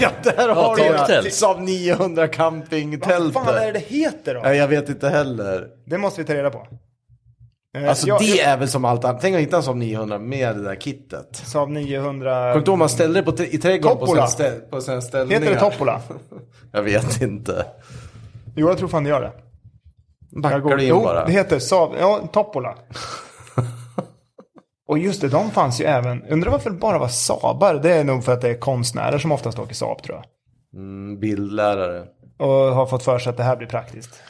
[SPEAKER 1] Ja, där har du ju liksom
[SPEAKER 2] taktält.
[SPEAKER 1] Saab 900
[SPEAKER 3] Vad
[SPEAKER 1] campingtält.
[SPEAKER 3] fan är det det heter då?
[SPEAKER 1] Nej, jag vet inte heller.
[SPEAKER 3] Det måste vi ta reda på. Eh,
[SPEAKER 1] Alltså
[SPEAKER 3] jag-
[SPEAKER 1] det
[SPEAKER 3] jag-
[SPEAKER 1] är väl som allt annat. Tänk att hitta en Saab 900 med det där kittet.
[SPEAKER 3] Saab 900...
[SPEAKER 1] Kommer du ihåg man ställde det på t- i trädgården på sina,
[SPEAKER 3] Toppola.
[SPEAKER 1] stä- på sina ställningar?
[SPEAKER 3] Heter det Toppola?
[SPEAKER 1] Jag vet inte.
[SPEAKER 3] Jo, jag tror fan det gör det. Jag
[SPEAKER 1] Backar
[SPEAKER 3] går-
[SPEAKER 1] du in
[SPEAKER 3] jo,
[SPEAKER 1] bara?
[SPEAKER 3] det heter Saab... Ja, Toppola. Och just det, de fanns ju även... Undrar varför det bara var Saabar? Det är nog för att det är konstnärer som oftast åker Saab, tror jag.
[SPEAKER 1] Mm, Bildlärare.
[SPEAKER 3] Och har fått för sig att det här blir praktiskt.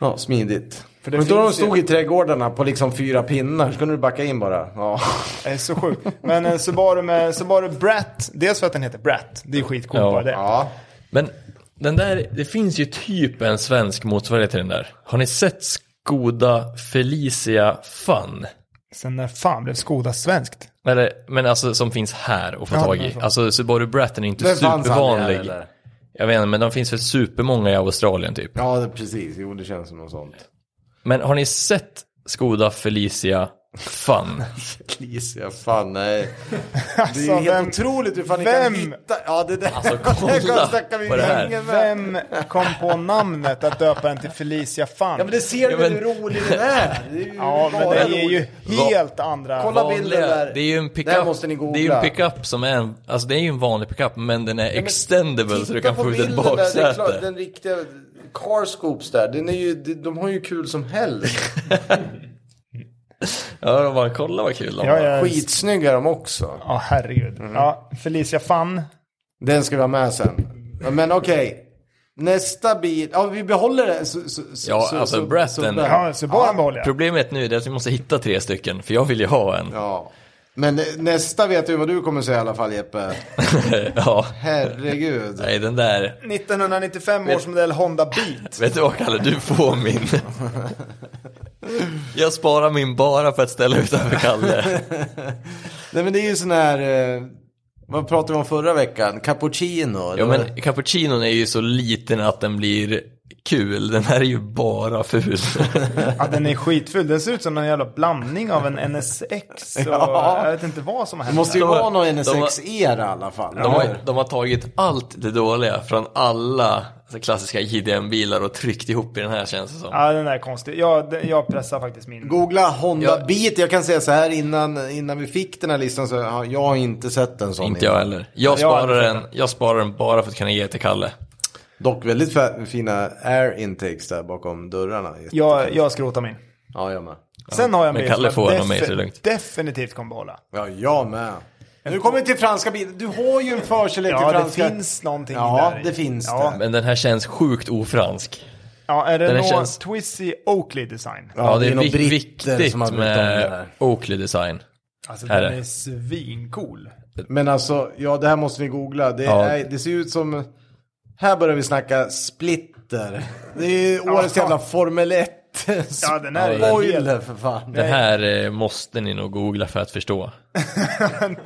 [SPEAKER 1] Ja, smidigt.
[SPEAKER 3] För det
[SPEAKER 1] Men då de
[SPEAKER 3] finns ju-
[SPEAKER 1] stod i trädgårdarna på liksom fyra pinnar, så kunde du backa in bara. Ja.
[SPEAKER 3] Det är så sjukt. Men en Subaru med Subaru Brat. Dels för att den heter Brat. Det är skitcoolt
[SPEAKER 2] Ja.
[SPEAKER 3] bara det.
[SPEAKER 1] ja.
[SPEAKER 2] Men den där, det finns ju typ en svensk motsvarighet till den där. Har ni sett Skoda Felicia Fun?
[SPEAKER 3] Sen när fan blev Skoda svenskt?
[SPEAKER 2] Eller, men alltså som finns här att få
[SPEAKER 3] Ja,
[SPEAKER 2] tag
[SPEAKER 3] den är
[SPEAKER 2] i.
[SPEAKER 3] så.
[SPEAKER 2] Alltså Subaru Bratton är inte
[SPEAKER 1] Den fanns aldrig här,
[SPEAKER 2] supervanlig.
[SPEAKER 1] eller?
[SPEAKER 2] Jag vet inte, men de finns väl supermånga i Australien typ.
[SPEAKER 1] Ja, det, precis. Jo, det känns som något sånt.
[SPEAKER 2] Men har ni sett Skoda Felicia Fun?
[SPEAKER 1] Felicia, fan nej. Det är ju
[SPEAKER 3] Alltså,
[SPEAKER 1] helt
[SPEAKER 3] vem-
[SPEAKER 1] otroligt hur fan ni
[SPEAKER 3] vem-
[SPEAKER 1] kan hitta. Ja, det där.
[SPEAKER 2] Alltså, kolla
[SPEAKER 1] det kan snacka vi
[SPEAKER 2] på det här.
[SPEAKER 1] länge med.
[SPEAKER 3] Vem kom på namnet att döpa den till Felicia Fan?
[SPEAKER 1] Ja, men det ser du väl
[SPEAKER 2] men-
[SPEAKER 1] hur rolig den är? Det är ju
[SPEAKER 3] Ja, men
[SPEAKER 1] bara
[SPEAKER 3] det är
[SPEAKER 1] roligt.
[SPEAKER 3] ju helt andra...
[SPEAKER 1] Kolla
[SPEAKER 3] Ja,
[SPEAKER 1] bilden där.
[SPEAKER 2] Det är ju en
[SPEAKER 1] Där
[SPEAKER 2] pickup.
[SPEAKER 1] måste ni googla.
[SPEAKER 2] Det är ju en pickup som är en, alltså det är ju en vanlig pickup men den är extendable så du
[SPEAKER 1] Titta
[SPEAKER 2] kan
[SPEAKER 1] på
[SPEAKER 2] få ut ett
[SPEAKER 1] bilden där, det är klart,
[SPEAKER 2] baksäte.
[SPEAKER 1] Den riktiga Carscoops där, den är ju, de, de har ju kul som helst.
[SPEAKER 2] Ja, de bara kolla vad kul de
[SPEAKER 3] Ja,
[SPEAKER 2] har.
[SPEAKER 3] ja.
[SPEAKER 1] Skitsnygga de också.
[SPEAKER 3] Ja, herregud.
[SPEAKER 1] Mm.
[SPEAKER 3] Ja, Felicia Fan.
[SPEAKER 1] Den ska vi ha med sen. Men okej. Nästa bil, ja vi behåller det. Så, så, så,
[SPEAKER 2] Ja,
[SPEAKER 1] så,
[SPEAKER 2] alltså,
[SPEAKER 1] så-
[SPEAKER 2] Bratten.
[SPEAKER 1] så-
[SPEAKER 3] Ja, Subaru behåller jag.
[SPEAKER 2] Problemet nu är att vi måste hitta tre stycken för jag vill ju ha en.
[SPEAKER 1] Ja. Men nästa vet du vad du kommer säga i alla fall Jeppe.
[SPEAKER 2] ja.
[SPEAKER 1] Herregud.
[SPEAKER 2] Nej, den där.
[SPEAKER 3] 1995 års modell Honda Beat.
[SPEAKER 2] Vet du vad Kalle, du får min. jag sparar min bara för att ställa utanför Kalle.
[SPEAKER 1] Nej men det är ju sån här, eh, vad pratade vi om förra veckan? Cappuccino?
[SPEAKER 2] Ja
[SPEAKER 1] eller vad?
[SPEAKER 2] men cappuccinon är ju så liten att den blir kul, den här är ju bara ful.
[SPEAKER 3] Ja, den är skitful. Den ser ut som någon jävla blandning av en NSX och
[SPEAKER 1] Ja.
[SPEAKER 3] jag vet inte vad som har
[SPEAKER 1] Det
[SPEAKER 3] hänt.
[SPEAKER 1] måste ju
[SPEAKER 2] De-
[SPEAKER 1] vara någon
[SPEAKER 2] de-
[SPEAKER 1] NSX-era i alla fall.
[SPEAKER 2] De har, de har tagit allt det dåliga från alla alltså, klassiska JDM-bilar och tryckt ihop i den här känns det som.
[SPEAKER 3] Ja, den där är konstig. Jag, den- jag pressar faktiskt min.
[SPEAKER 1] Googla Honda
[SPEAKER 2] Jag-
[SPEAKER 1] Beat. Jag kan säga så här innan, innan vi fick den här listan så har jag har inte sett en sån.
[SPEAKER 2] Inte jag
[SPEAKER 1] innan.
[SPEAKER 2] heller. Jag
[SPEAKER 3] jag
[SPEAKER 2] sparar,
[SPEAKER 3] hade sett
[SPEAKER 2] den, jag sparar den bara för att kunna ge till Kalle.
[SPEAKER 1] Dock väldigt fa- fina air intakes där bakom dörrarna. Jätte-
[SPEAKER 3] Jag, jag skrotar min.
[SPEAKER 1] Ja, jag med.
[SPEAKER 3] Sen har jag
[SPEAKER 2] men
[SPEAKER 3] min
[SPEAKER 2] Kalle
[SPEAKER 3] som
[SPEAKER 2] får
[SPEAKER 3] jag
[SPEAKER 2] honom med, så det är lugnt.
[SPEAKER 3] definitivt kommer behålla.
[SPEAKER 1] Ja, jag med. Nu kommer vi till franska bilar. Du har ju en förkärlek
[SPEAKER 3] Ja,
[SPEAKER 1] till
[SPEAKER 3] det
[SPEAKER 1] franska.
[SPEAKER 3] finns någonting
[SPEAKER 1] Ja,
[SPEAKER 3] där. i.
[SPEAKER 1] det finns
[SPEAKER 3] ja.
[SPEAKER 1] det.
[SPEAKER 2] Men den här känns sjukt ofransk.
[SPEAKER 3] Ja, är det
[SPEAKER 2] Den
[SPEAKER 3] någon
[SPEAKER 2] känns-
[SPEAKER 3] Twizy Oakley design?
[SPEAKER 2] Ja, det, är,
[SPEAKER 1] nog
[SPEAKER 2] vik-
[SPEAKER 1] britter
[SPEAKER 2] viktigt
[SPEAKER 1] som har blivit av med det
[SPEAKER 2] med
[SPEAKER 1] här.
[SPEAKER 2] Oakley design.
[SPEAKER 3] Alltså
[SPEAKER 2] Är
[SPEAKER 3] den
[SPEAKER 2] det?
[SPEAKER 3] är svincool.
[SPEAKER 1] Men alltså, ja det här måste vi googla. Det,
[SPEAKER 2] Ja.
[SPEAKER 1] är, det ser ut som... Här börjar vi snacka splitter. Det är ju årets
[SPEAKER 3] Ja.
[SPEAKER 1] jävla Formel 1.
[SPEAKER 3] Ja, den här är
[SPEAKER 1] Spoiler för fan.
[SPEAKER 2] Det här eh, måste ni nog googla för att förstå.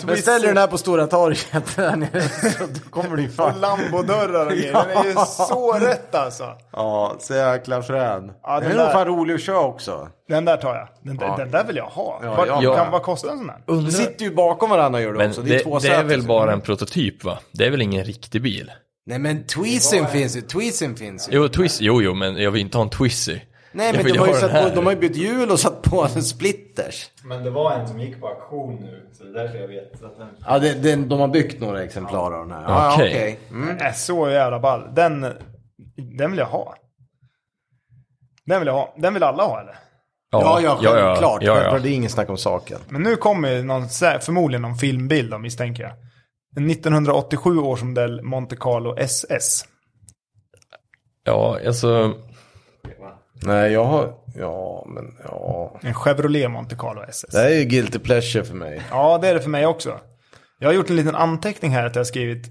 [SPEAKER 1] Beställer du den här på Stora torget där nere så då kommer du ju
[SPEAKER 3] Och
[SPEAKER 1] fan.
[SPEAKER 3] Lambodörrar och grejer. Den är ju så rätt alltså.
[SPEAKER 1] Ja, så jäkla frän.
[SPEAKER 3] Ja,
[SPEAKER 1] den
[SPEAKER 3] den
[SPEAKER 1] är nog
[SPEAKER 3] där-
[SPEAKER 1] fan rolig att köra också.
[SPEAKER 3] Den där tar jag. Den, där-
[SPEAKER 1] Ja.
[SPEAKER 3] den där vill jag ha.
[SPEAKER 1] Ja,
[SPEAKER 3] vad,
[SPEAKER 1] jag
[SPEAKER 2] med.
[SPEAKER 3] kan, vad kostar en sån här?
[SPEAKER 1] De sitter ju bakom varandra gör du
[SPEAKER 2] Men
[SPEAKER 1] också.
[SPEAKER 2] det,
[SPEAKER 1] Det är två
[SPEAKER 2] det är
[SPEAKER 1] säten.
[SPEAKER 2] väl bara en prototyp va? Det är väl ingen riktig bil?
[SPEAKER 1] Nej men tweezen finns ju, tweezen finns ju.
[SPEAKER 2] Jo, twist, jo, jo, men jag vill inte ha en twizy.
[SPEAKER 1] Nej men
[SPEAKER 2] jag vill
[SPEAKER 1] de har, ju
[SPEAKER 2] ha den
[SPEAKER 1] satt på,
[SPEAKER 2] här.
[SPEAKER 1] de har ju bytt hjul och satt på en splitters.
[SPEAKER 7] Men det var en som gick på auktion nu, så det är därför jag vet att den...
[SPEAKER 1] Ja, det, det, de har byggt några exemplar av den här. Ja,
[SPEAKER 2] Okej.
[SPEAKER 1] okej. Mm.
[SPEAKER 3] Äh, så jävla ball. Den, den vill jag ha. Den vill jag ha. Den vill alla ha eller?
[SPEAKER 1] Ja, ja, självklart.
[SPEAKER 2] Ja, ja,
[SPEAKER 1] Självklart, Det är ingen snack om saken.
[SPEAKER 3] Men nu kommer ju någon, sä- förmodligen någon filmbild då, misstänker jag. En 1987 års modell Monte Carlo SS.
[SPEAKER 2] ja, alltså,
[SPEAKER 1] Nej, jag har... Ja, men ja.
[SPEAKER 3] En Chevrolet Monte Carlo SS.
[SPEAKER 1] Det här är ju guilty pleasure för mig.
[SPEAKER 3] Ja, det är det för mig också. Jag har gjort en liten anteckning här att jag har skrivit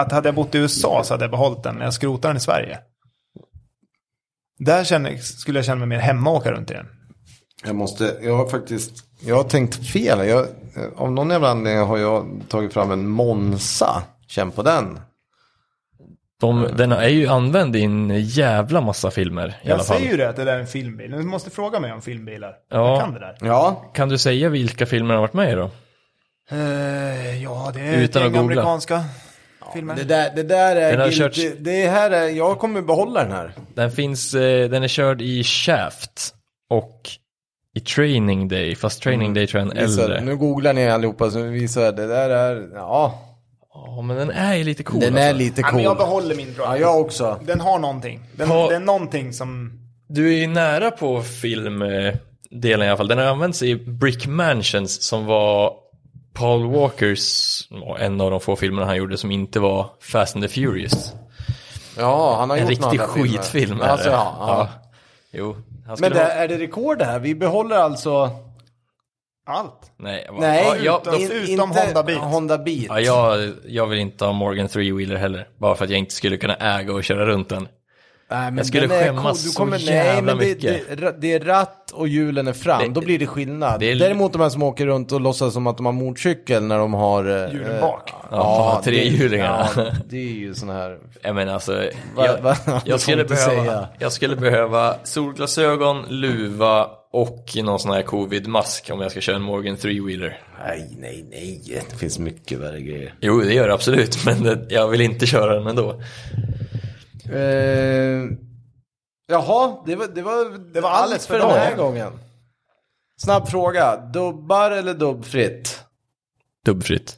[SPEAKER 3] att hade jag bott i USA så hade jag behållit den, men jag skrotar den i Sverige. Där känner, skulle jag känna mig mer hemma och åka runt i den.
[SPEAKER 1] Jag måste... Jag har faktiskt... Jag har tänkt fel. Jag, av någon jävla anledning har jag tagit fram en Monza. Känn på den.
[SPEAKER 2] de, den är ju använd i en jävla massa filmer i alla
[SPEAKER 3] Jag
[SPEAKER 2] fall.
[SPEAKER 3] säger ju det att det där är en filmbil. Du måste fråga mig om filmbilar.
[SPEAKER 2] Ja.
[SPEAKER 3] Jag kan det där.
[SPEAKER 1] Ja.
[SPEAKER 2] Kan du säga vilka filmer den har varit med i då?
[SPEAKER 3] Eh, ja, det är
[SPEAKER 2] Utan
[SPEAKER 3] ett
[SPEAKER 2] att
[SPEAKER 3] gäng
[SPEAKER 2] googla.
[SPEAKER 3] amerikanska filmer.
[SPEAKER 1] Det där, det där är
[SPEAKER 2] Den har
[SPEAKER 1] guilty...
[SPEAKER 2] körts-
[SPEAKER 1] Det här är... Jag kommer behålla den här.
[SPEAKER 2] Den finns, eh, den är körd i Shaft och i Training Day, fast
[SPEAKER 1] Mm.
[SPEAKER 2] Training Day tror jag är en
[SPEAKER 1] Visa-
[SPEAKER 2] äldre.
[SPEAKER 1] Nu googlar ni allihopa så visar jag. Det där är... Ja.
[SPEAKER 2] Ja, men den är ju lite cool
[SPEAKER 1] Den
[SPEAKER 2] alltså.
[SPEAKER 1] är lite
[SPEAKER 3] Ja,
[SPEAKER 1] cool.
[SPEAKER 3] men jag behåller min
[SPEAKER 1] Ja,
[SPEAKER 3] bra.
[SPEAKER 1] jag också.
[SPEAKER 3] Den har någonting. Den,
[SPEAKER 2] Ha-
[SPEAKER 3] Det är någonting som...
[SPEAKER 2] Du är ju nära på filmdelen i alla fall. Den har använts i Brick Mansions som var Paul Walkers, ja, en av de få filmerna han gjorde som inte var Fast and the Furious.
[SPEAKER 1] Ja, han har
[SPEAKER 2] En
[SPEAKER 1] gjort
[SPEAKER 2] riktig
[SPEAKER 1] några andra filmer.
[SPEAKER 2] skitfilm är
[SPEAKER 1] Alltså,
[SPEAKER 2] det.
[SPEAKER 1] ja, ja.
[SPEAKER 2] Jo, han skulle
[SPEAKER 1] Men det,
[SPEAKER 2] ha...
[SPEAKER 1] är det rekord det här? Vi behåller alltså...
[SPEAKER 3] Allt.
[SPEAKER 2] Nej, va-
[SPEAKER 1] Nej,
[SPEAKER 2] ja, jag,
[SPEAKER 3] in- utom Honda Beat.
[SPEAKER 1] Honda Beat.
[SPEAKER 2] ja, jag, jag vill inte ha Morgan Three-Wheeler heller. Bara för att jag inte skulle kunna äga och köra runt den.
[SPEAKER 1] Nej, men
[SPEAKER 2] jag skulle
[SPEAKER 1] den är
[SPEAKER 2] skämmas
[SPEAKER 1] du
[SPEAKER 2] så jävla
[SPEAKER 1] det,
[SPEAKER 2] mycket.
[SPEAKER 1] Det, det är ratt och hjulen är fram, då
[SPEAKER 2] Det-
[SPEAKER 1] blir det skillnad.
[SPEAKER 2] det är-
[SPEAKER 1] Däremot de här som åker runt och låtsas som att de har motorcykel när de har... eh,
[SPEAKER 3] Hjulen
[SPEAKER 1] eh,
[SPEAKER 3] bak.
[SPEAKER 2] Ja, trehjulingarna.
[SPEAKER 1] Ja, det är ju sån här...
[SPEAKER 2] Jag menar alltså,
[SPEAKER 1] Va-
[SPEAKER 2] jag,
[SPEAKER 1] va- du får
[SPEAKER 2] jag, skulle
[SPEAKER 1] inte säga.
[SPEAKER 2] behöva, jag skulle behöva solglasögon, luva och någon sån här covid-mask om jag ska köra en Morgan 3-wheeler.
[SPEAKER 1] Nej, nej, nej. Det finns mycket värre grejer.
[SPEAKER 2] Jo, det gör det absolut, men det, jag vill inte köra den ändå.
[SPEAKER 1] Eh, jaha, det var, det var, det var allt för den här gången. Snabb fråga, dubbar eller dubbfritt?
[SPEAKER 2] Dubbfritt.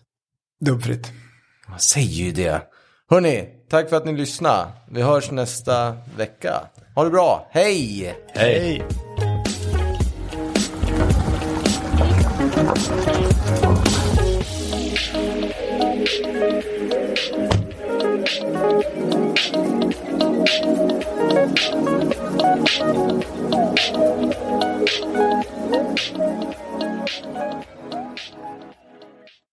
[SPEAKER 3] Dubbfritt.
[SPEAKER 1] Man säger ju det. Hörni, tack för att ni lyssnade. Vi hörs nästa vecka. Ha det bra, hej!
[SPEAKER 2] Hej.
[SPEAKER 3] Hej.